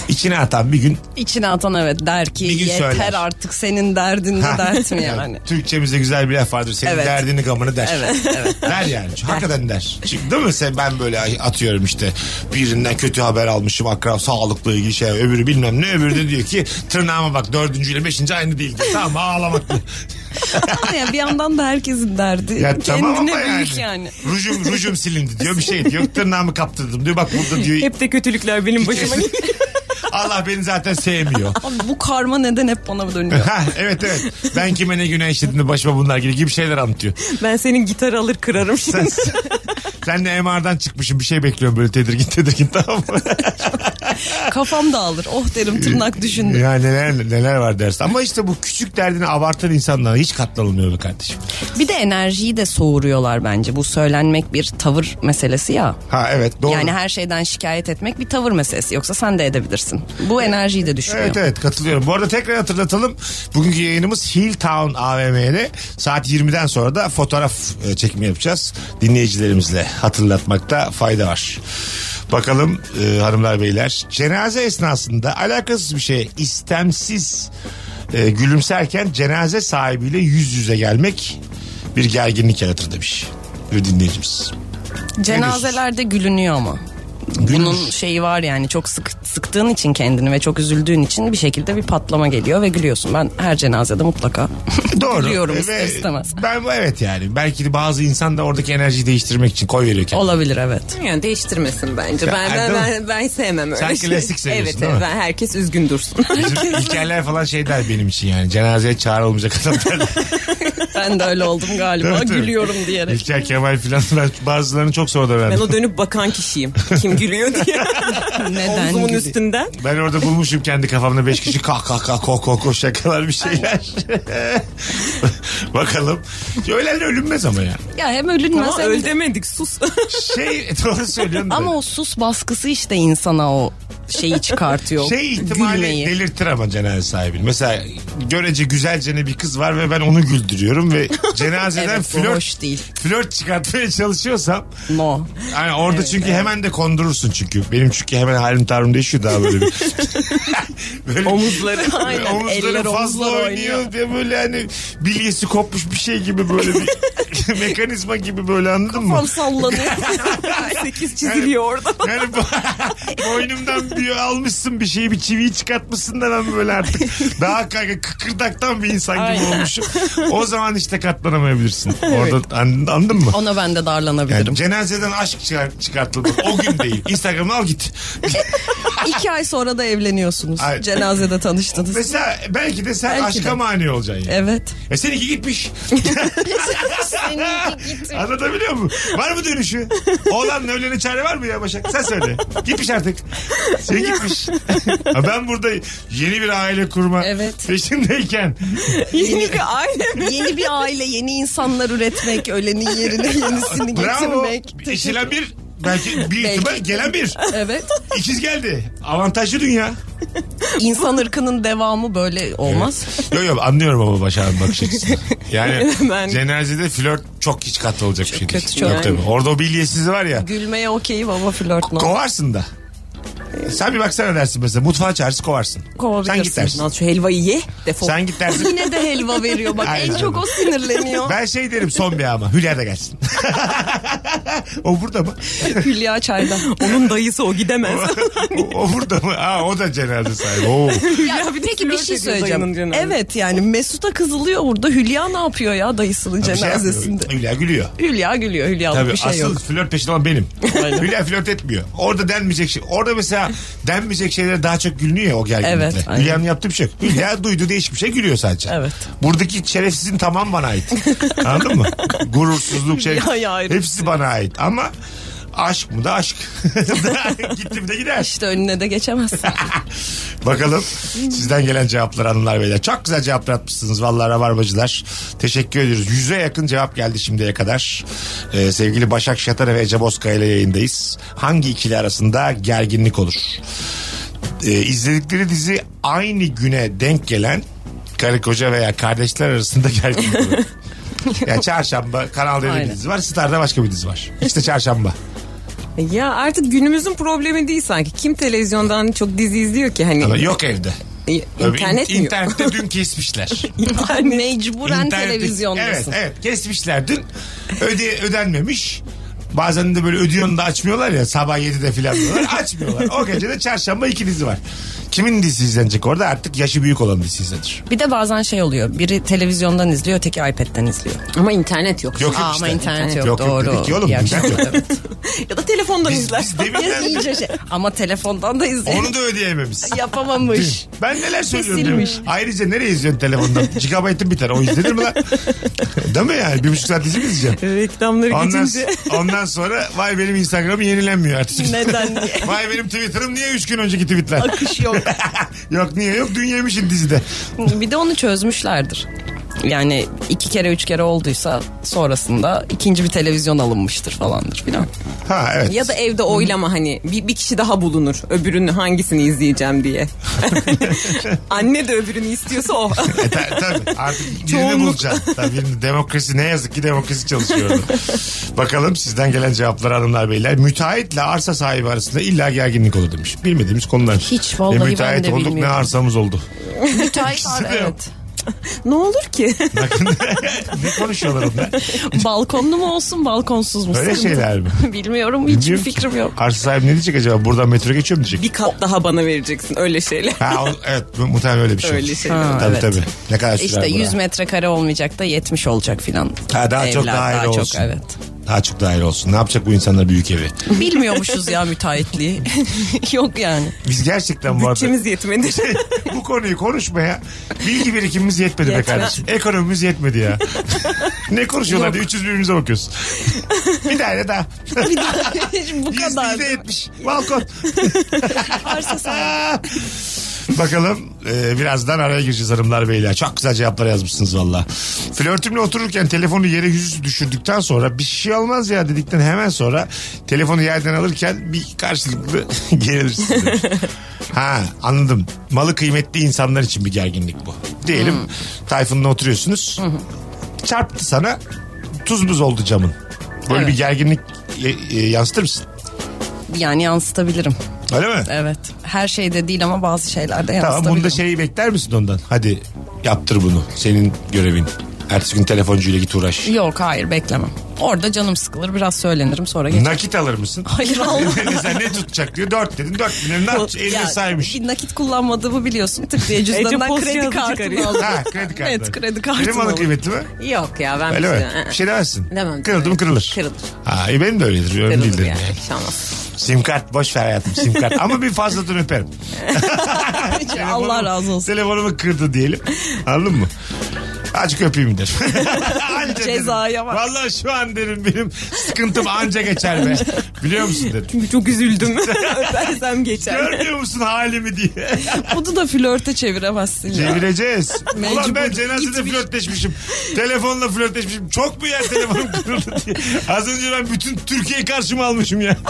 [SPEAKER 3] İçine atan bir gün
[SPEAKER 4] İçine atan evet der ki
[SPEAKER 3] Bir gün
[SPEAKER 4] yeter
[SPEAKER 3] söyler."
[SPEAKER 4] artık senin derdinde
[SPEAKER 3] Ha.
[SPEAKER 4] dert mi
[SPEAKER 3] Ya,
[SPEAKER 4] yani?
[SPEAKER 3] Türkçemizde güzel bir laf vardır. Senin
[SPEAKER 4] Evet.
[SPEAKER 3] derdini gamını der.
[SPEAKER 4] Evet,
[SPEAKER 3] Der yani. Hakikaten der. Şimdi değil mi? Sen, ben böyle atıyorum işte birinden kötü haber almışım akrab sağlıkla ilgili şey öbürü bilmem ne öbürü de diyor ki tırnağıma bak dördüncüyle beşinci aynı değil diyor. Tamam ağlamak.
[SPEAKER 4] Ama ya bir yandan da herkesin derdi.
[SPEAKER 3] Ya
[SPEAKER 4] Kendine
[SPEAKER 3] tamam ama
[SPEAKER 4] büyük yani.
[SPEAKER 3] Rujum, rujum silindi diyor bir şey diyor. Tırnağımı kaptırdım diyor. Bak burada diyor.
[SPEAKER 5] Hep de kötülükler benim başıma geliyor.
[SPEAKER 3] Allah beni zaten sevmiyor.
[SPEAKER 4] Abi bu karma neden hep bana dönüyor?
[SPEAKER 3] Ha, evet evet. Ben kime ne günah işledim de başıma bunlar gibi gibi şeyler anlatıyor.
[SPEAKER 5] Ben senin gitar alır kırarım şimdi.
[SPEAKER 3] Sen, sen de MR'dan çıkmışım bir şey bekliyorum böyle tedirgin tedirgin tamam mı?
[SPEAKER 4] Kafam dağılır. Oh derim tırnak düşündüm.
[SPEAKER 3] Ya neler neler var dersin. Ama işte bu küçük derdini abartan insanlara hiç katlanılmıyor be kardeşim.
[SPEAKER 4] Bir de enerjiyi de soğuruyorlar bence. Bu söylenmek bir tavır meselesi ya.
[SPEAKER 3] Ha evet doğru.
[SPEAKER 4] Yani her şeyden şikayet etmek bir tavır meselesi. Yoksa sen de edebilirsin. Bu enerjiyi de düşürüyor.
[SPEAKER 3] Evet evet katılıyorum. Bu arada tekrar hatırlatalım. Bugünkü yayınımız Hilltown AVM'de saat 20'den sonra da fotoğraf e, çekimi yapacağız. Dinleyicilerimizle hatırlatmakta fayda var. Bakalım e, hanımlar beyler. Cenaze esnasında alakasız bir şey istemsiz e, gülümserken cenaze sahibiyle yüz yüze gelmek bir gerginlik yaratır demiş bir dinleyicimiz.
[SPEAKER 4] Cenazelerde gülünüyor ama. Bunun şeyi var yani çok sık, sıktığın için kendini ve çok üzüldüğün için bir şekilde bir patlama geliyor ve gülüyorsun. Ben her cenazede mutlaka
[SPEAKER 3] Doğru. E,
[SPEAKER 4] gülüyorum
[SPEAKER 3] Ve
[SPEAKER 4] ister istemez.
[SPEAKER 3] Ben bu evet yani. Belki de bazı insan da oradaki enerjiyi değiştirmek için koy veriyor kendine.
[SPEAKER 4] Olabilir evet.
[SPEAKER 5] Yani değiştirmesin bence.
[SPEAKER 3] Ya,
[SPEAKER 5] Ben ben,
[SPEAKER 3] değil mi?
[SPEAKER 5] ben, ben sevmem öyle
[SPEAKER 3] Sen
[SPEAKER 5] şey.
[SPEAKER 3] klasik seviyorsun,
[SPEAKER 5] Evet,
[SPEAKER 3] değil mi?
[SPEAKER 5] evet ben herkes üzgün dursun.
[SPEAKER 3] Bizim İlkerler falan şey der benim için yani. Cenazeye çağrı olmayacak adam derler.
[SPEAKER 4] Ben de öyle oldum galiba
[SPEAKER 3] Tabii, tabii.
[SPEAKER 4] gülüyorum diyerek.
[SPEAKER 3] İlker Kemal falan ben bazılarını çok sonradan
[SPEAKER 5] ben
[SPEAKER 3] öğrendim.
[SPEAKER 5] o dönüp bakan kişiyim. Kim gülüyor diye.
[SPEAKER 4] Neden
[SPEAKER 5] Omzumun
[SPEAKER 4] gülüyor?
[SPEAKER 5] üstünden.
[SPEAKER 3] Ben orada bulmuşum kendi kafamda beş kişi kah kah kah ko ko ko şakalar bir şeyler. Bakalım. Ölenle ölünmez ama ya.
[SPEAKER 4] Ya hem ölünmez
[SPEAKER 5] Ama
[SPEAKER 4] hem-
[SPEAKER 5] öl demedik sus.
[SPEAKER 3] Şey doğru söylüyorsun. da.
[SPEAKER 4] Ama o sus baskısı işte insana o şeyi çıkartıyor.
[SPEAKER 3] şey ihtimali
[SPEAKER 4] gülmeyi.
[SPEAKER 3] delirtir ama cenaze sahibini. Mesela görece güzelcene bir kız var ve ben onu güldürüyorum ve cenazeden
[SPEAKER 4] Evet, bu
[SPEAKER 3] flört
[SPEAKER 4] hoş değil.
[SPEAKER 3] flört çıkartmaya çalışıyorsam
[SPEAKER 4] No.
[SPEAKER 3] Hani orada çünkü hemen de kondurursun çünkü. Benim çünkü hemen halim tavrım değişiyor daha böyle bir. böyle
[SPEAKER 5] Omuzları.
[SPEAKER 3] Böyle
[SPEAKER 4] Aynen, eller
[SPEAKER 3] omuzları fazla
[SPEAKER 4] omuzlar
[SPEAKER 3] oynuyor. diye böyle hani bilyesi kopmuş bir şey gibi böyle bir mekanizma gibi böyle anladın
[SPEAKER 5] Tam
[SPEAKER 3] mı?
[SPEAKER 5] sallanıyor. Sekiz çiziliyor orada.
[SPEAKER 3] Yani bu- boynumdan bir almışsın bir şeyi bir çiviyi çıkartmışsın da ben böyle artık daha kanka kıkırdaktan bir insan gibi olmuşum. O zaman işte katlanamayabilirsin. Orada an- anladın mı?
[SPEAKER 4] Ona ben de
[SPEAKER 3] Yani
[SPEAKER 4] darlanabilirim.
[SPEAKER 3] cenazeden aşk çıkar- çıkartıldı. O gün değil. Instagram'dan al git.
[SPEAKER 4] İki ay sonra da evleniyorsunuz.
[SPEAKER 3] Ay.
[SPEAKER 4] Cenazede tanıştınız.
[SPEAKER 3] Mesela belki de sen
[SPEAKER 4] Belki
[SPEAKER 3] aşka
[SPEAKER 4] de.
[SPEAKER 3] mani olacaksın. Yani.
[SPEAKER 4] Evet.
[SPEAKER 3] E seninki gitmiş. Anlatabiliyor muyum? Var mı dönüşü? Oğlanla ölene çare var mı ya Başak? Sen söyle. Gitmiş artık. Sen gitmiş. Ha, ben burada yeni bir aile kurma
[SPEAKER 4] Evet.
[SPEAKER 3] peşindeyken.
[SPEAKER 5] Yeni bir aile mi?
[SPEAKER 4] Yeni bir aile, yeni insanlar üretmek, ölenin yerine yenisini
[SPEAKER 3] Bravo.
[SPEAKER 4] getirmek.
[SPEAKER 3] Eşilen bir. Belki bir
[SPEAKER 4] Belki.
[SPEAKER 3] ihtimal gelen bir.
[SPEAKER 4] Evet.
[SPEAKER 3] İkiz geldi. Avantajlı dünya.
[SPEAKER 4] İnsan ırkının devamı böyle olmaz.
[SPEAKER 3] Yok yok anlıyorum ama Başak'ın bakış açısını. Yani
[SPEAKER 5] Ben-
[SPEAKER 3] cenazede flört çok hiç kat olacak bir şey değil.
[SPEAKER 4] kötü, çok.
[SPEAKER 3] Yok tabii. Orada o bilyesiz var ya.
[SPEAKER 4] Gülmeye okeyim ama flört no.
[SPEAKER 3] Kovarsın da. Sen bir baksana dersin mesela. Mutfağa çağırırsın kovarsın. Sen git dersin.
[SPEAKER 5] Al şu helvayı ye defol.
[SPEAKER 3] Sen git dersin.
[SPEAKER 4] Yine de helva veriyor bak
[SPEAKER 3] Aynen.
[SPEAKER 4] en çok o sinirleniyor.
[SPEAKER 3] Ben şey derim son bir ama. Hülya da gelsin. o burada mı?
[SPEAKER 4] Hülya çayda.
[SPEAKER 5] Onun dayısı o gidemez.
[SPEAKER 3] O, o burada mı? Aa, o da cenaze sahibi. Oo. şey
[SPEAKER 4] Ya peki bir
[SPEAKER 5] flört
[SPEAKER 4] şey
[SPEAKER 5] ediyor dayının
[SPEAKER 4] söyleyeceğim.
[SPEAKER 5] cenazesi.
[SPEAKER 4] Evet yani Mesut'a kızılıyor burada. Hülya ne yapıyor ya dayısının
[SPEAKER 3] Bir şey
[SPEAKER 4] cenazesinde?
[SPEAKER 3] yapmıyor. Hülya gülüyor.
[SPEAKER 4] Hülya gülüyor. Hülya'lık
[SPEAKER 3] Tabii
[SPEAKER 4] bir şey
[SPEAKER 3] asıl
[SPEAKER 4] yok.
[SPEAKER 3] flört peşinde olan benim. Hülya flört etmiyor. Orada denmeyecek şey. Orada mesela denmeyecek şeylere daha çok gülünüyor ya o gerginlikle.
[SPEAKER 4] Evet, aynen.
[SPEAKER 3] Hülya'nın yaptığı bir şey yok. Hülya duydu değişik bir şey gülüyor sadece.
[SPEAKER 4] Evet.
[SPEAKER 3] Buradaki şerefsizin tamam bana ait. Anladın mı? Gurursuzluk, şeref.
[SPEAKER 4] Hülya'ya ayrı şey.
[SPEAKER 3] Hepsi bana ait ama aşk mı da aşk. Gittim de gider.
[SPEAKER 4] İşte önüne de geçemezsin.
[SPEAKER 3] Bakalım sizden gelen cevaplar hanımlar beyler. Çok güzel cevaplar atmışsınız vallahi rabarbacılar. Teşekkür ediyoruz. Yüze yakın cevap geldi şimdiye kadar. Ee, sevgili Başak Şatar ve Ece Bozkaya ile yayındayız. Hangi ikili arasında gerginlik olur? Ee, izledikleri dizi aynı güne denk gelen karı koca veya kardeşler arasında gerginlik olur. yani çarşamba Kanal D'de bir
[SPEAKER 4] Aynen.
[SPEAKER 3] dizi var. Star'da başka bir dizi var. İşte çarşamba.
[SPEAKER 5] ya artık günümüzün problemi değil sanki. Kim televizyondan çok dizi izliyor ki hani?
[SPEAKER 3] Yok evde.
[SPEAKER 5] İ- İnternet mi yok?
[SPEAKER 3] İnternette dün kesmişler.
[SPEAKER 4] Mecburen
[SPEAKER 3] İnternette-
[SPEAKER 4] televizyondasın.
[SPEAKER 3] Evet evet kesmişler dün. Öde, ödenmemiş. Bazen de böyle ödüyorsun da açmıyorlar ya sabah 7'de filan diyorlar. Açmıyorlar. O gece de çarşamba iki dizi var. Kimin dizisi izlenecek orada? Artık yaşı büyük olan dizisi izlenir.
[SPEAKER 4] Bir de bazen şey oluyor. Biri televizyondan izliyor, öteki iPad'den izliyor.
[SPEAKER 5] Ama internet
[SPEAKER 3] Yok
[SPEAKER 5] yok.
[SPEAKER 3] yok
[SPEAKER 4] Aa,
[SPEAKER 3] işte.
[SPEAKER 4] ama internet yok,
[SPEAKER 3] Yok yok
[SPEAKER 4] doğru.
[SPEAKER 3] dedik ki oğlum,
[SPEAKER 4] İyi
[SPEAKER 3] internet yok.
[SPEAKER 4] akşamlar.
[SPEAKER 5] Ya da telefondan
[SPEAKER 3] Biz-
[SPEAKER 5] izler.
[SPEAKER 3] biz deminden-
[SPEAKER 4] İyice şey. Ama telefondan da izliyor.
[SPEAKER 3] Onu da ödeyememiş.
[SPEAKER 4] Yapamamış.
[SPEAKER 3] Ben neler söylüyorum değil mi?
[SPEAKER 4] Kesilmiş.
[SPEAKER 3] Ayrıca nereye izliyorsun telefondan? Gigabyte'ın biter. O izlenir mi lan? değil mi yani? Bir buçuk saat dizi mi izleyeceğim?
[SPEAKER 5] Reklamları
[SPEAKER 3] Ondan,
[SPEAKER 5] geçince.
[SPEAKER 3] ondan sonra vay benim Instagram'ım yenilenmiyor artık.
[SPEAKER 4] Neden diye.
[SPEAKER 3] Vay benim Twitter'ım niye 3 gün önceki tweetler?
[SPEAKER 4] Akış yok.
[SPEAKER 3] yok niye yok dün yemişin dizide.
[SPEAKER 4] bir de onu çözmüşlerdir. Yani iki kere üç kere olduysa sonrasında ikinci bir televizyon alınmıştır falandır filan.
[SPEAKER 3] Ha evet.
[SPEAKER 5] Ya da evde oylama hani bir, bir kişi daha bulunur öbürünü hangisini izleyeceğim diye. Anne de öbürünü istiyorsa o.
[SPEAKER 3] E, ta- tabii artık birini
[SPEAKER 5] Çoğunluk.
[SPEAKER 3] bulacaksın. Tabii birini. demokrasi ne yazık ki demokrasi çalışıyor. orada. Bakalım sizden gelen cevaplar hanımlar beyler. Müteahhitle arsa sahibi arasında illa gerginlik olur demiş. Bilmediğimiz konular.
[SPEAKER 4] Hiç, vallahi
[SPEAKER 3] Ne
[SPEAKER 4] ben
[SPEAKER 3] müteahhit
[SPEAKER 4] de
[SPEAKER 3] olduk ne
[SPEAKER 4] bilmiyorum.
[SPEAKER 3] arsamız oldu.
[SPEAKER 4] Müteahhit
[SPEAKER 3] İkisi de yok.
[SPEAKER 4] evet.
[SPEAKER 5] ne olur ki?
[SPEAKER 3] Bakın ne konuşuyorlar onlar?
[SPEAKER 4] Balkonlu mu olsun balkonsuz mu?
[SPEAKER 3] Öyle
[SPEAKER 4] Sıkıntı.
[SPEAKER 3] şeyler mi?
[SPEAKER 4] Bilmiyorum hiçbir
[SPEAKER 3] Bilmiyorum ki.
[SPEAKER 4] fikrim yok.
[SPEAKER 3] Arsa sahibi ne diyecek acaba? Buradan metro geçiyor mu diyecek?
[SPEAKER 5] bir kat daha bana vereceksin öyle şeyler.
[SPEAKER 3] Ha, o- evet mu- muhtemelen öyle bir şey.
[SPEAKER 5] Öyle
[SPEAKER 3] olur.
[SPEAKER 5] şeyler.
[SPEAKER 4] Ha,
[SPEAKER 3] Tabii
[SPEAKER 4] evet.
[SPEAKER 3] tabii. Ne kadar sürer
[SPEAKER 4] İşte
[SPEAKER 3] bu
[SPEAKER 4] 100
[SPEAKER 3] ha?
[SPEAKER 4] metrekare olmayacak da 70 olacak filan.
[SPEAKER 3] Ha, daha çok
[SPEAKER 4] Evler,
[SPEAKER 3] daire
[SPEAKER 4] çok,
[SPEAKER 3] olsun.
[SPEAKER 4] evet.
[SPEAKER 3] Daha çok daire olsun. Ne yapacak bu insanlar büyük evi?
[SPEAKER 4] Bilmiyormuşuz ya müteahhitliği. yok yani.
[SPEAKER 3] Biz gerçekten bu arada
[SPEAKER 5] Bütçemiz yetmedi.
[SPEAKER 3] bu konuyu konuşmaya bilgi birikimimiz yetmedi be
[SPEAKER 5] Yetmez.
[SPEAKER 3] kardeşim. Ekonomimiz yetmedi ya. ne konuşuyorlar diye 300 birbirimize bakıyoruz. bir daire daha.
[SPEAKER 4] Bir daha- bu kadar.
[SPEAKER 3] Yüzde yetmiş. Balkon.
[SPEAKER 4] Arsa sahibi.
[SPEAKER 3] Bakalım e, birazdan araya gireceğiz hanımlar beyler. Çok güzel cevaplar yazmışsınız valla. Flörtümle otururken telefonu yere yüzüstü düşürdükten sonra bir şey olmaz ya dedikten hemen sonra telefonu yerden alırken bir karşılıklı gerilirsiniz. demiş. ha anladım. Malı kıymetli insanlar için bir gerginlik bu. Diyelim
[SPEAKER 4] Hmm.
[SPEAKER 3] Tayfun'la oturuyorsunuz. Çarptı sana tuz buz oldu camın. Böyle
[SPEAKER 4] Evet.
[SPEAKER 3] bir gerginlik e, e, yansıtır mısın?
[SPEAKER 4] Yani yansıtabilirim.
[SPEAKER 3] Öyle mi?
[SPEAKER 4] Evet. Her şeyde değil ama bazı şeylerde yansıtabilirim.
[SPEAKER 3] Tamam bunda şeyi bekler misin ondan? Hadi yaptır bunu. Senin görevin. Ertesi gün telefoncuyla git uğraş.
[SPEAKER 4] Yok hayır beklemem. Orada canım sıkılır biraz söylenirim sonra geçer.
[SPEAKER 3] Nakit alır mısın?
[SPEAKER 4] Hayır almam.
[SPEAKER 3] Sen ne tutacak diyor. Dört dedin. Dört bin lira. Ne yapacak? Elini
[SPEAKER 4] Ya,
[SPEAKER 3] saymış.
[SPEAKER 4] Bir nakit kullanmadığımı biliyorsun. Tık diye cüzdanından
[SPEAKER 5] Post
[SPEAKER 4] kredi
[SPEAKER 5] yazı
[SPEAKER 4] kartını
[SPEAKER 5] çıkarıyor.
[SPEAKER 4] aldım.
[SPEAKER 3] Ha kredi kartı.
[SPEAKER 4] Evet, kredi kartı
[SPEAKER 3] Benim alı
[SPEAKER 4] alır.
[SPEAKER 3] kıymetli mi?
[SPEAKER 5] Yok ya ben
[SPEAKER 3] Öyle mi?
[SPEAKER 5] Ee,
[SPEAKER 3] Bir şey demezsin.
[SPEAKER 5] Demem.
[SPEAKER 3] Kırıldı mı kırılır.
[SPEAKER 5] Kırılır.
[SPEAKER 3] Ha, e, benim de öyledir. Öyle
[SPEAKER 5] Kırılır
[SPEAKER 3] değildir.
[SPEAKER 5] yani.
[SPEAKER 3] yani.
[SPEAKER 5] bir şey olmaz.
[SPEAKER 3] Sim kart boş ver hayatım sim kart. Ama bir fazladan öperim.
[SPEAKER 4] Allah
[SPEAKER 3] Telefonumu-
[SPEAKER 4] razı olsun.
[SPEAKER 3] Telefonumu kırdı diyelim. Anladın mı? Azıcık öpeyim der. Anca
[SPEAKER 4] Cezaya
[SPEAKER 3] derim.
[SPEAKER 4] bak.
[SPEAKER 3] Vallahi şu an derim benim sıkıntım anca geçer be. Biliyor musun derim.
[SPEAKER 5] Çünkü çok üzüldüm. Öpersem geçer.
[SPEAKER 3] Görmüyor musun halimi diye.
[SPEAKER 4] Bunu da flörte çeviremezsin ya.
[SPEAKER 3] Çevireceğiz. Ulan ben
[SPEAKER 4] Mecbur.
[SPEAKER 3] cenazede
[SPEAKER 4] İtmiş.
[SPEAKER 3] flörtleşmişim. Telefonla flörtleşmişim. Çok mu yer telefonum kırıldı diye. Az önce ben bütün Türkiye'yi karşıma almışım ya.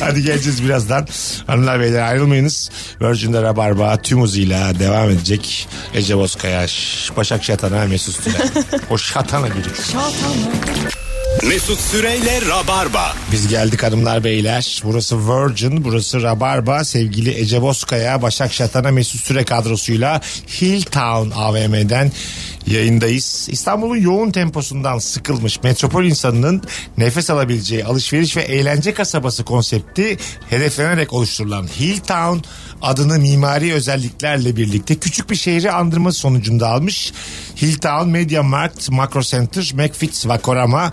[SPEAKER 3] Hadi geleceğiz birazdan. Hanımlar beyler ayrılmayınız. Virgin'de Rabarba tüm hızıyla devam edecek. Ece Bozkaya, Ş- Başak Şatan'a, Mesut Süre. O şatana gidecek.
[SPEAKER 2] Mesut Süreyle Rabarba.
[SPEAKER 3] Biz geldik hanımlar beyler. Burası Virgin, burası Rabarba. Sevgili Ece Bozkaya, Başak Şatan'a Mesut Süre kadrosuyla Hilltown AVM'den yayındayız. İstanbul'un yoğun temposundan sıkılmış metropol insanının nefes alabileceği alışveriş ve eğlence kasabası konsepti hedeflenerek oluşturulan Hilltown adını mimari özelliklerle birlikte küçük bir şehri andırması sonucunda almış. Hilltown, Media Markt, Macro Center, McFits, Vakorama,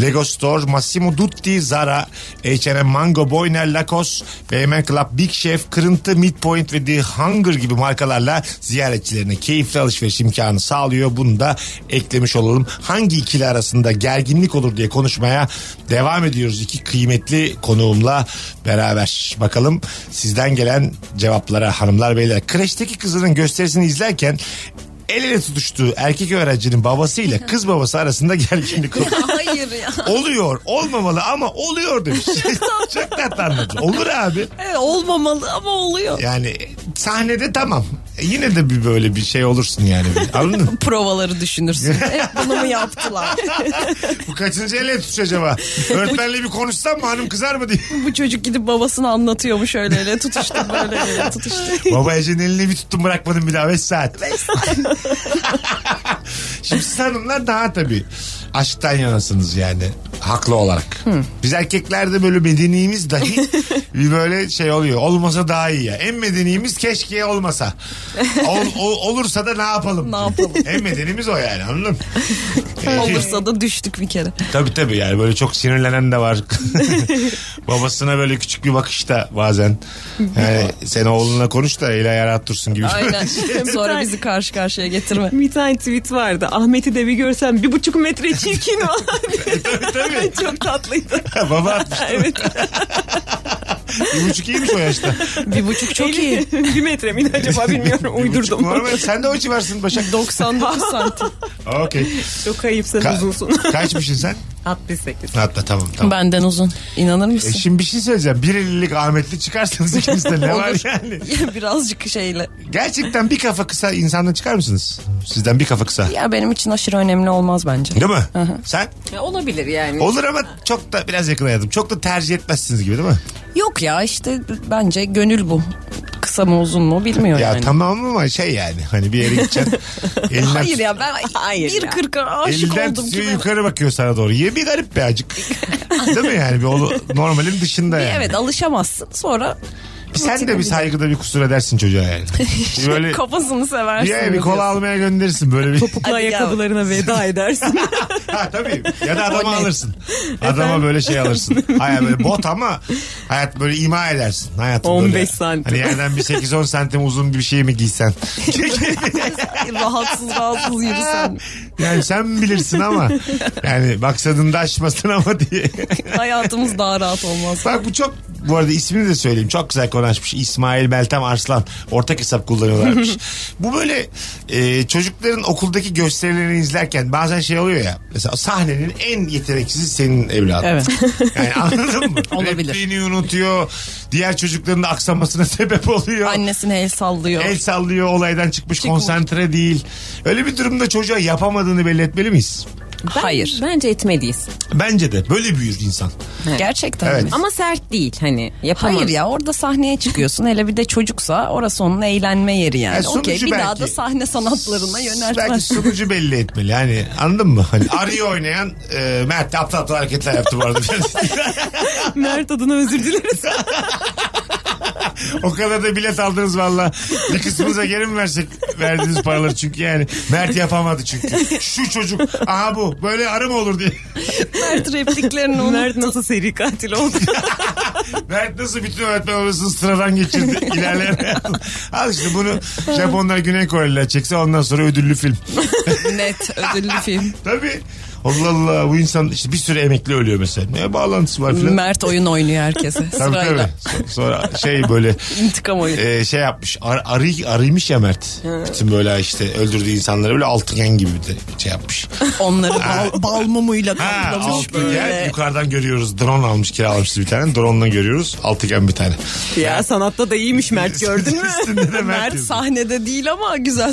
[SPEAKER 3] Lego Store, Massimo Dutti, Zara, H&M, Mango, Boyner, Lacoste, BM Club, Big Chef, Kırıntı, Midpoint ve The Hunger gibi markalarla ziyaretçilerine keyifli alışveriş imkanı sağlıyor. Bunu da eklemiş olalım. Hangi ikili arasında gerginlik olur diye konuşmaya devam ediyoruz. iki kıymetli konuğumla beraber. Bakalım sizden gelen cevaplara hanımlar beyler. Kreşteki kızının gösterisini izlerken el ele tutuştuğu erkek öğrencinin babasıyla kız babası arasında gerginlik olur.
[SPEAKER 4] Hayır ya.
[SPEAKER 3] Oluyor olmamalı ama oluyor demiş. Çok tatlı anlatıyor. Olur abi.
[SPEAKER 4] Evet, olmamalı ama oluyor.
[SPEAKER 3] Yani sahnede tamam. E, Yine de bir böyle bir şey olursun yani. Anladın mı?
[SPEAKER 4] Provaları düşünürsün. Hep bunu mu yaptılar?
[SPEAKER 3] Bu kaçıncı ele tutuş acaba? Öğretmenle bir konuşsam mı hanım kızar mı diye.
[SPEAKER 4] Bu çocuk gidip babasını anlatıyormuş öyle öyle tutuştu böyle öyle tutuştu.
[SPEAKER 3] Baba Ece'nin elini bir tuttum bırakmadım bir daha 5 saat. Şimdi siz hanımlar daha tabii aşktan yanasınız yani. haklı olarak. Biz erkeklerde böyle medeniyimiz dahi bir böyle şey oluyor. Olmasa daha iyi ya. En medeniyimiz keşke olmasa. Ol- o- olursa da ne yapalım?
[SPEAKER 4] Ne yapalım?
[SPEAKER 3] en medenimiz o yani anladın mı? Ee, Şey-
[SPEAKER 4] Olursa da düştük bir kere.
[SPEAKER 3] Tabii tabii yani böyle çok sinirlenen de var. Babasına böyle küçük bir bakışta bazen. Yani sen oğlunla konuş da el ayağı rahat dursun gibi.
[SPEAKER 4] Aynen. Sonra bizi karşı karşıya getirme.
[SPEAKER 5] Bir tane tweet vardı. Ahmet'i de bir görsem bir buçuk metre çirkin o.
[SPEAKER 3] tabii.
[SPEAKER 5] Çok tatlıydı.
[SPEAKER 3] Baba atmış.
[SPEAKER 5] evet.
[SPEAKER 3] Bir buçuk iyiymiş o yaşta.
[SPEAKER 4] Bir buçuk çok iyi.
[SPEAKER 5] bir metre miydi acaba bilmiyorum.
[SPEAKER 3] Bir buçuk
[SPEAKER 5] Uydurdum.
[SPEAKER 3] normal. Sen de o civarsın Başak.
[SPEAKER 4] 99 santim.
[SPEAKER 3] Okey.
[SPEAKER 5] Çok ayıp sen
[SPEAKER 3] Ka-
[SPEAKER 5] uzunsun.
[SPEAKER 3] Kaçmışsın sen?
[SPEAKER 5] 68.
[SPEAKER 3] Hatta tamam tamam.
[SPEAKER 4] Benden uzun. İnanır
[SPEAKER 3] E
[SPEAKER 4] mısın?
[SPEAKER 3] şimdi bir şey söyleyeceğim. Bir ellilik Ahmetli çıkarsanız ikinizde ne var yani?
[SPEAKER 4] Birazcık şeyle.
[SPEAKER 3] Gerçekten bir kafa kısa insandan çıkar mısınız? Sizden bir kafa kısa.
[SPEAKER 4] Ya benim için aşırı önemli olmaz bence.
[SPEAKER 3] Değil mi? Sen?
[SPEAKER 5] Ya olabilir yani.
[SPEAKER 3] Olur ama çok da biraz yakın hayatım. Çok da tercih etmezsiniz gibi değil mi?
[SPEAKER 4] Yok ya işte bence gönül bu. Kısa mı uzun mu bilmiyorum
[SPEAKER 3] Ya
[SPEAKER 4] yani.
[SPEAKER 3] tamam ama şey yani hani bir yere gideceksin. elinden,
[SPEAKER 4] Hayır ya ben
[SPEAKER 5] Hayır ya.
[SPEAKER 4] 1.40'a aşık
[SPEAKER 3] Elinden
[SPEAKER 4] oldum
[SPEAKER 3] tutuyor
[SPEAKER 4] ki. ben.
[SPEAKER 3] yukarı bakıyor sana doğru. Ye bir garip be acık. Değil mi yani? Bir olu, normalin dışında yani.
[SPEAKER 4] Evet alışamazsın sonra
[SPEAKER 3] Sen de bir saygıda bir kusur edersin çocuğa yani. Bir böyle
[SPEAKER 4] kafasını
[SPEAKER 3] bir,
[SPEAKER 4] seversin.
[SPEAKER 3] yere bir kola almaya gönderirsin böyle bir.
[SPEAKER 5] Topuklu
[SPEAKER 4] Hadi ya.
[SPEAKER 5] ayakkabılarına veda edersin.
[SPEAKER 3] ha tabii. Ya da adama alırsın. Adama böyle şey alırsın. Hayır böyle bot ama hayat böyle ima edersin. Hayatım
[SPEAKER 5] 15
[SPEAKER 3] böyle.
[SPEAKER 5] santim.
[SPEAKER 3] Hani yerden bir 8-10 santim uzun bir şey mi giysen?
[SPEAKER 4] rahatsız rahatsız yürüsen.
[SPEAKER 3] yani sen bilirsin ama yani maksadını da aşmasın ama diye.
[SPEAKER 4] Hayatımız daha rahat olmaz.
[SPEAKER 3] Bak bu çok bu arada ismini de söyleyeyim. Çok güzel konuşmuş. İsmail Beltem Arslan. Ortak hesap kullanıyorlarmış. bu böyle e, çocukların okuldaki gösterilerini izlerken bazen şey oluyor ya. Mesela sahnenin en yeteneksizi senin evladın.
[SPEAKER 4] Evet.
[SPEAKER 3] Yani anladın mı?
[SPEAKER 4] Olabilir.
[SPEAKER 3] Repliğini unutuyor. Diğer çocukların da aksamasına sebep oluyor.
[SPEAKER 4] Annesine el sallıyor.
[SPEAKER 3] El sallıyor olaydan çıkmış konsantre değil. Öyle bir durumda çocuğa yapamadığını belli etmeli miyiz?
[SPEAKER 4] Hayır.
[SPEAKER 5] Bence etmeliyiz.
[SPEAKER 3] Bence de böyle büyür insan.
[SPEAKER 4] Gerçekten
[SPEAKER 3] Evet.
[SPEAKER 4] mi?
[SPEAKER 5] Ama sert değil hani yapamaz.
[SPEAKER 4] Hayır ya orada sahneye çıkıyorsun hele bir de çocuksa orası onun eğlenme yeri yani.
[SPEAKER 3] Ya E, sonucu
[SPEAKER 4] Okey bir daha
[SPEAKER 3] belki-
[SPEAKER 4] da sahne sanatlarına
[SPEAKER 3] Belki
[SPEAKER 4] yöneltmez.
[SPEAKER 3] sonucu belli etmeli. Yani anladın mı? Hani arıyı oynayan e, Mert de aptal aptal hareketler yaptı bu arada.
[SPEAKER 5] Mert adına özür dileriz.
[SPEAKER 3] o kadar da bilet aldınız valla. Bir kısmınıza geri mi versek verdiğiniz paraları çünkü yani. Mert yapamadı çünkü. Şu çocuk aha bu böyle arı mı olur diye.
[SPEAKER 4] Mert repliklerini unut.
[SPEAKER 5] Mert nasıl seri katil oldu?
[SPEAKER 3] Mert nasıl bütün öğretmen odasını sıradan geçirdi ilerleyen hayatını. Al işte bunu Japonlar Güney Koreliler çekse ondan sonra ödüllü film.
[SPEAKER 4] Net ödüllü film.
[SPEAKER 3] Tabii. Allah Allah bu insan işte bir sürü emekli ölüyor mesela. Ne bağlantısı var filan.
[SPEAKER 4] Mert oyun oynuyor herkese
[SPEAKER 3] Tabii tabii.
[SPEAKER 4] sırayla.
[SPEAKER 3] So- Sonra şey böyle
[SPEAKER 4] İntikam oyunu.
[SPEAKER 3] e, şey yapmış. Ar, arı, arıymış ya Mert. Bütün böyle işte öldürdüğü insanları böyle altıgen gibi bir de şey yapmış.
[SPEAKER 4] Onları bal, bal mumuyla
[SPEAKER 3] Ha,
[SPEAKER 4] kaplamış
[SPEAKER 3] altıgen
[SPEAKER 4] böyle.
[SPEAKER 3] yukarıdan görüyoruz. Drone almış kiralamış bir tane. Drone'la görüyoruz. Altıgen bir tane.
[SPEAKER 5] ya sanatta da iyiymiş Mert gördün mü?
[SPEAKER 3] Üstünde de Mert,
[SPEAKER 4] Mert
[SPEAKER 3] yazıyor.
[SPEAKER 4] sahnede değil ama güzel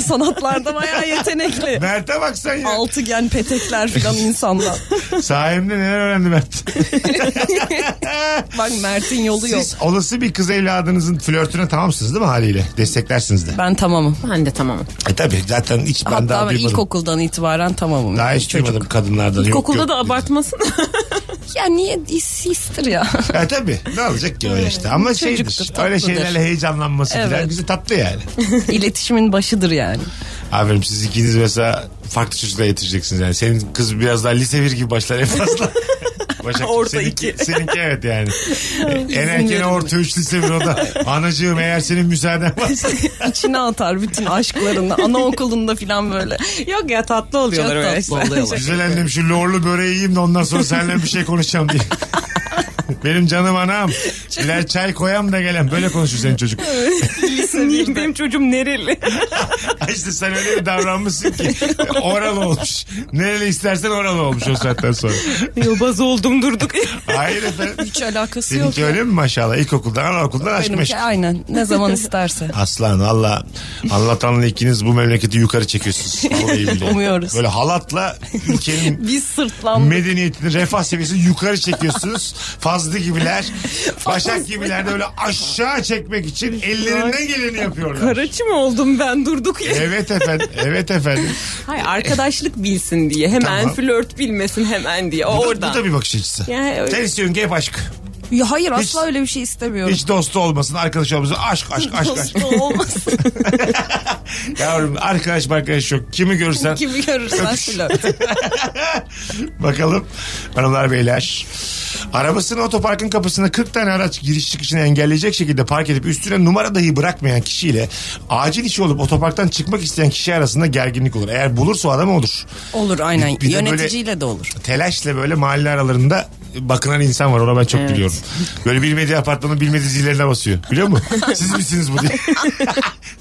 [SPEAKER 4] sanatlarda bayağı yetenekli.
[SPEAKER 3] Mert'e bak sen ya.
[SPEAKER 4] Altıgen petekler filan insandan.
[SPEAKER 3] Sayemde neler öğrendi Mert.
[SPEAKER 4] Bak Mert'in yolu yok.
[SPEAKER 3] Siz olası bir kız evladınızın flörtüne tamamsınız değil mi haliyle? Desteklersiniz de.
[SPEAKER 4] Ben tamamım.
[SPEAKER 5] Ben de tamam.
[SPEAKER 3] E tabii zaten hiç ben
[SPEAKER 4] Hatta
[SPEAKER 3] daha
[SPEAKER 4] ben
[SPEAKER 3] duymadım.
[SPEAKER 4] ilkokuldan itibaren tamamım.
[SPEAKER 3] Daha hiç duymadım kadınlardan. Yok,
[SPEAKER 5] Okulda
[SPEAKER 3] yok
[SPEAKER 5] da
[SPEAKER 3] dedi.
[SPEAKER 5] abartmasın.
[SPEAKER 4] Ya niye histir ya?
[SPEAKER 3] E tabii ne olacak ki öyle işte ama şeydir
[SPEAKER 4] çocuktur,
[SPEAKER 3] öyle
[SPEAKER 4] tatlıdır.
[SPEAKER 3] şeylerle heyecanlanması falan
[SPEAKER 4] Evet.
[SPEAKER 3] güzel tatlı yani.
[SPEAKER 4] İletişimin başıdır yani.
[SPEAKER 3] Aferin siz ikiniz mesela farklı çocukla yetişeceksiniz yani senin kız biraz daha lise bir gibi başlar en fazla. Başak,
[SPEAKER 5] Orta
[SPEAKER 3] seninki,
[SPEAKER 5] iki.
[SPEAKER 3] Seninki evet yani. en erken orta üç lise bir o da. Anacığım eğer senin müsaaden varsa.
[SPEAKER 4] İçine atar bütün aşklarını. Anaokulunda filan böyle.
[SPEAKER 5] Yok ya tatlı oluyorlar
[SPEAKER 4] Çok
[SPEAKER 5] öyle
[SPEAKER 4] tatlı
[SPEAKER 5] işte.
[SPEAKER 4] oluyorlar.
[SPEAKER 3] Güzel annem şu lorlu böreği yiyeyim de ondan sonra seninle bir şey konuşacağım diye. Benim canım anam. Birer çay koyam da gelem. Böyle konuşur senin çocuk.
[SPEAKER 5] Niye benim çocuğum nereli?
[SPEAKER 3] Ay işte sen öyle bir davranmışsın ki oralı olmuş. Nereli istersen oralı olmuş o saatten sonra.
[SPEAKER 5] Yobaz oldum durduk.
[SPEAKER 3] Hayır efendim.
[SPEAKER 4] Hiç alakası yok.
[SPEAKER 3] Seninki öyle mi maşallah? İlkokuldan, anaokuldan aşk meşk.
[SPEAKER 4] Benimki aynen. Ne zaman isterse.
[SPEAKER 3] Aslan valla anlatanla ikiniz bu memleketi yukarı çekiyorsunuz. Vallahi billahi.
[SPEAKER 4] Umuyoruz.
[SPEAKER 3] Böyle halatla ülkenin
[SPEAKER 4] Biz sırtlandık.
[SPEAKER 3] medeniyetini, refah seviyesini yukarı çekiyorsunuz. Fazlı gibiler, Başak gibiler de öyle aşağı çekmek için ellerinden geleni yapıyorlar.
[SPEAKER 5] Karaçı mı oldum ben durduk ya.
[SPEAKER 3] Evet efendim, evet efendim.
[SPEAKER 5] Hayır arkadaşlık bilsin diye. Hemen
[SPEAKER 3] Tamam.
[SPEAKER 5] flört bilmesin hemen diye.
[SPEAKER 3] Bu,
[SPEAKER 5] O
[SPEAKER 3] da-
[SPEAKER 5] oradan.
[SPEAKER 3] bu da bir bakış açısı.
[SPEAKER 5] Ya, öyle.
[SPEAKER 3] Sen istiyorsun ki hep aşk.
[SPEAKER 4] Ya hayır
[SPEAKER 3] Hiç-
[SPEAKER 4] asla öyle bir şey istemiyorum.
[SPEAKER 3] Hiç dostu olmasın, arkadaş olmasın. Aşk, aşk, aşk, aşk.
[SPEAKER 4] Dostu olmasın
[SPEAKER 3] Yavrum arkadaş arkadaş yok. Kimi görürsen.
[SPEAKER 4] gibi görürsen flört.
[SPEAKER 3] Bakalım hanımlar beyler. Arabasını otoparkın kapısına 40 tane araç giriş çıkışını engelleyecek şekilde park edip üstüne numara dahi bırakmayan kişiyle acil işi olup otoparktan çıkmak isteyen kişi arasında gerginlik olur. Eğer bulursa o adam olur.
[SPEAKER 4] Olur aynen.
[SPEAKER 3] Bir- bir de böyle-
[SPEAKER 4] Yöneticiyle de olur.
[SPEAKER 3] Telaşla böyle mahalle aralarında bakınan insan var ona ben çok biliyorum. Böyle bilmediği apartmanın bilmediği zillerine basıyor. Biliyor musun? Siz misiniz bu diye.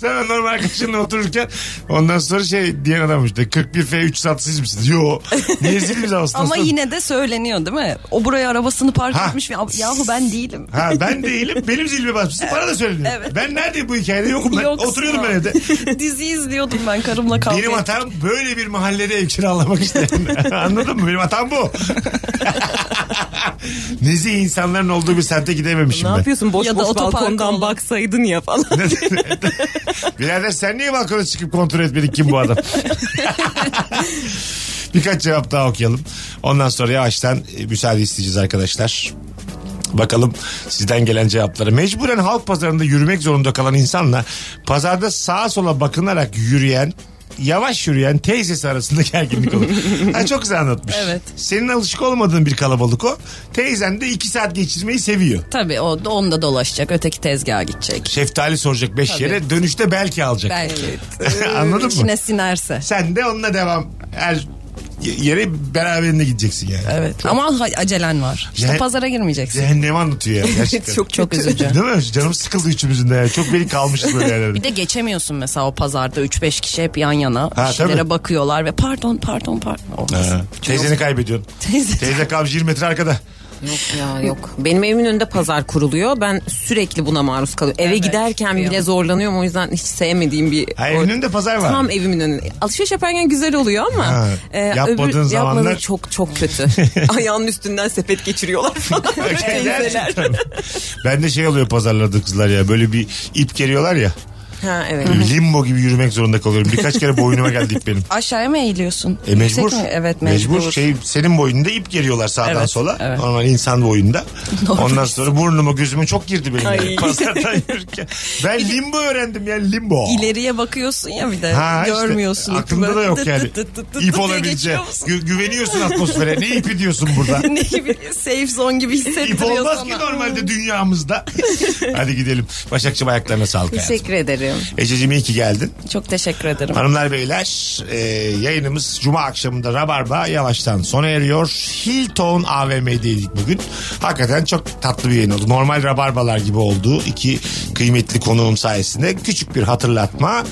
[SPEAKER 3] Sen ben normal arkadaşınla otururken ondan sonra şey diyen adammış. 41 F3 altı siz misiniz? Yo. Niye zil bize bastınız?
[SPEAKER 4] Ama
[SPEAKER 3] Lan?
[SPEAKER 4] yine de söyleniyor değil mi? O buraya arabasını park
[SPEAKER 3] Ha.
[SPEAKER 4] etmiş. ve- Yahu ben değilim.
[SPEAKER 3] Ha ben değilim. Benim zilime basmışsın. Bana da söyleniyor.
[SPEAKER 4] Evet.
[SPEAKER 3] Ben nerede bu hikayede yokum ben.
[SPEAKER 4] Yoksun
[SPEAKER 3] Oturuyorum
[SPEAKER 4] abi.
[SPEAKER 3] ben evde.
[SPEAKER 4] Dizi izliyordum ben karımla kavga
[SPEAKER 3] Benim
[SPEAKER 4] ettim.
[SPEAKER 3] hatam böyle bir mahallede ev kiralamak isteyen. Anladın mı? Benim hatam bu. Nizi insanların olduğu bir semte gidememişim
[SPEAKER 5] Ne
[SPEAKER 3] ben.
[SPEAKER 5] yapıyorsun boş
[SPEAKER 4] Ya da
[SPEAKER 5] boş
[SPEAKER 4] otoparka
[SPEAKER 5] balkondan
[SPEAKER 4] olan.
[SPEAKER 5] baksaydın ya falan.
[SPEAKER 3] Birader sen niye balkona çıkıp kontrol etmedin kim bu adam? Birkaç cevap daha okuyalım. Ondan sonra yavaştan e, müsaade isteyeceğiz arkadaşlar. Bakalım sizden gelen cevapları. Mecburen halk pazarında yürümek zorunda kalan insanla pazarda sağa sola bakınarak yürüyen yavaş yürüyen teyzesi arasında gerginlik olur. Ha, çok güzel anlatmış.
[SPEAKER 4] Evet.
[SPEAKER 3] Senin alışık olmadığın bir kalabalık o. Teyzen de iki saat geçirmeyi seviyor.
[SPEAKER 4] Tabii o da onda dolaşacak. Öteki tezgaha gidecek.
[SPEAKER 3] Şeftali soracak beş yere dönüşte belki alacak.
[SPEAKER 4] Belki.
[SPEAKER 3] Anladın mı?
[SPEAKER 4] İçine sinerse.
[SPEAKER 3] Sen de onunla devam. Her yere beraberinde gideceksin yani.
[SPEAKER 4] Evet. Ama ha- acelen var. İşte
[SPEAKER 3] Ya-
[SPEAKER 4] pazara girmeyeceksin.
[SPEAKER 3] Cehennemi anlatıyor yani gerçekten.
[SPEAKER 5] çok
[SPEAKER 4] Çok üzücü.
[SPEAKER 3] Değil mi? Canım sıkıldı üçümüzün de. yani. Çok beni kalmışız böyle
[SPEAKER 4] Bir
[SPEAKER 3] yerlerde.
[SPEAKER 4] de geçemiyorsun mesela o pazarda 3-5 kişi hep yan yana
[SPEAKER 3] Ha,
[SPEAKER 4] bir şeylere
[SPEAKER 3] tabii.
[SPEAKER 4] bakıyorlar ve pardon pardon pardon
[SPEAKER 3] Ha,
[SPEAKER 4] olmasın.
[SPEAKER 3] Teyzeni kaybediyorsun.
[SPEAKER 4] Teyze-
[SPEAKER 3] Teyze kalmış 20 metre arkada.
[SPEAKER 5] Yok ya yok. Benim evimin önünde pazar kuruluyor. Ben sürekli buna maruz kalıyorum. Eve
[SPEAKER 4] Evet,
[SPEAKER 5] giderken
[SPEAKER 4] biliyorum.
[SPEAKER 5] bile zorlanıyorum. O yüzden hiç sevmediğim bir...
[SPEAKER 3] Ha, evinin önünde pazar var.
[SPEAKER 5] Tam evimin önünde. Alışveriş yaparken güzel oluyor ama...
[SPEAKER 3] Ha, yapmadığın
[SPEAKER 5] yapmadığı
[SPEAKER 3] zamanlar-
[SPEAKER 5] çok çok kötü. Ayağının üstünden sepet geçiriyorlar falan. Teyzeler.
[SPEAKER 3] Gerçekten. ben de şey oluyor pazarlarda kızlar ya. Böyle bir ip geriyorlar ya.
[SPEAKER 5] ha evet.
[SPEAKER 3] Limbo gibi yürümek zorunda kalıyorum. Birkaç kere boynuma geldi ip benim.
[SPEAKER 4] Aşağıya mı eğiliyorsun?
[SPEAKER 3] E mecbur.
[SPEAKER 4] Yüksek mi? Evet mecbur.
[SPEAKER 3] Şey, senin boyunda ip geriyorlar sağdan
[SPEAKER 4] Evet,
[SPEAKER 3] sola.
[SPEAKER 4] evet.
[SPEAKER 3] Normal insan boyunda. Ondan sonra burnuma gözüme çok girdi benim.
[SPEAKER 5] Ay.
[SPEAKER 3] yani Pazardan yürürken. Ben limbo öğrendim ya limbo.
[SPEAKER 4] İleriye bakıyorsun ya bir de
[SPEAKER 3] Ha işte,
[SPEAKER 4] görmüyorsun. ipi
[SPEAKER 3] aklında
[SPEAKER 4] böyle
[SPEAKER 3] da yok
[SPEAKER 4] tıt tıt
[SPEAKER 3] yani.
[SPEAKER 4] tıt tıt tıt tıt
[SPEAKER 3] İp
[SPEAKER 4] diye
[SPEAKER 3] olabileceği.
[SPEAKER 4] geçiyor musun?
[SPEAKER 3] Gü- güveniyorsun atmosfere. Ne ipi diyorsun burada?
[SPEAKER 4] ne gibi safe zone gibi
[SPEAKER 3] İp
[SPEAKER 4] hissettiriyor
[SPEAKER 3] olmaz
[SPEAKER 4] sana.
[SPEAKER 3] ki normalde dünyamızda. Hadi gidelim. Başakçı ayaklarına sağlık hayatım.
[SPEAKER 5] Teşekkür ederim.
[SPEAKER 3] Ececiğim iyi ki geldin.
[SPEAKER 4] Çok teşekkür ederim.
[SPEAKER 3] Hanımlar beyler e, yayınımız Cuma akşamında Rabarba yavaştan sona eriyor. Hilton AVM'deydik bugün. Hakikaten çok tatlı bir yayın oldu. Normal Rabarbalar gibi oldu. İki kıymetli konuğum sayesinde küçük bir hatırlatma.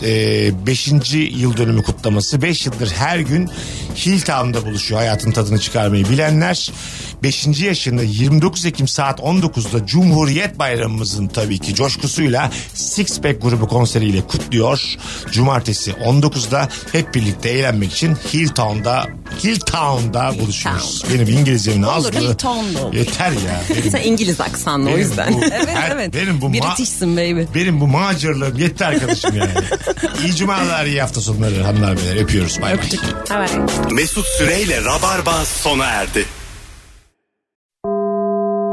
[SPEAKER 3] 5. yıl dönümü kutlaması. 5 yıldır her gün Hilltown'da buluşuyor hayatın tadını çıkarmayı bilenler. 5. yaşında 29 Ekim saat 19'da Cumhuriyet Bayramımızın tabii ki coşkusuyla Six Pack grubu konseriyle kutluyor. Cumartesi 19'da hep birlikte eğlenmek için Hilltown'da Hilltown'da buluşuyoruz. Benim İngilizcemin azlığı.
[SPEAKER 4] Hilltown'da olur.
[SPEAKER 3] Yeter ya. Benim,
[SPEAKER 5] Sen İngiliz aksanlı o
[SPEAKER 3] benim
[SPEAKER 5] yüzden.
[SPEAKER 3] bu-
[SPEAKER 4] Evet
[SPEAKER 3] her-
[SPEAKER 4] evet.
[SPEAKER 3] Benim bu ma-
[SPEAKER 4] British'sin baby.
[SPEAKER 3] benim bu maceralığım yetti arkadaşım yani. iyi cumalar, iyi hafta sonları hanımlar beyler. Öpüyoruz. Bay bay.
[SPEAKER 2] Mesut Süreyle Rabarba sona erdi.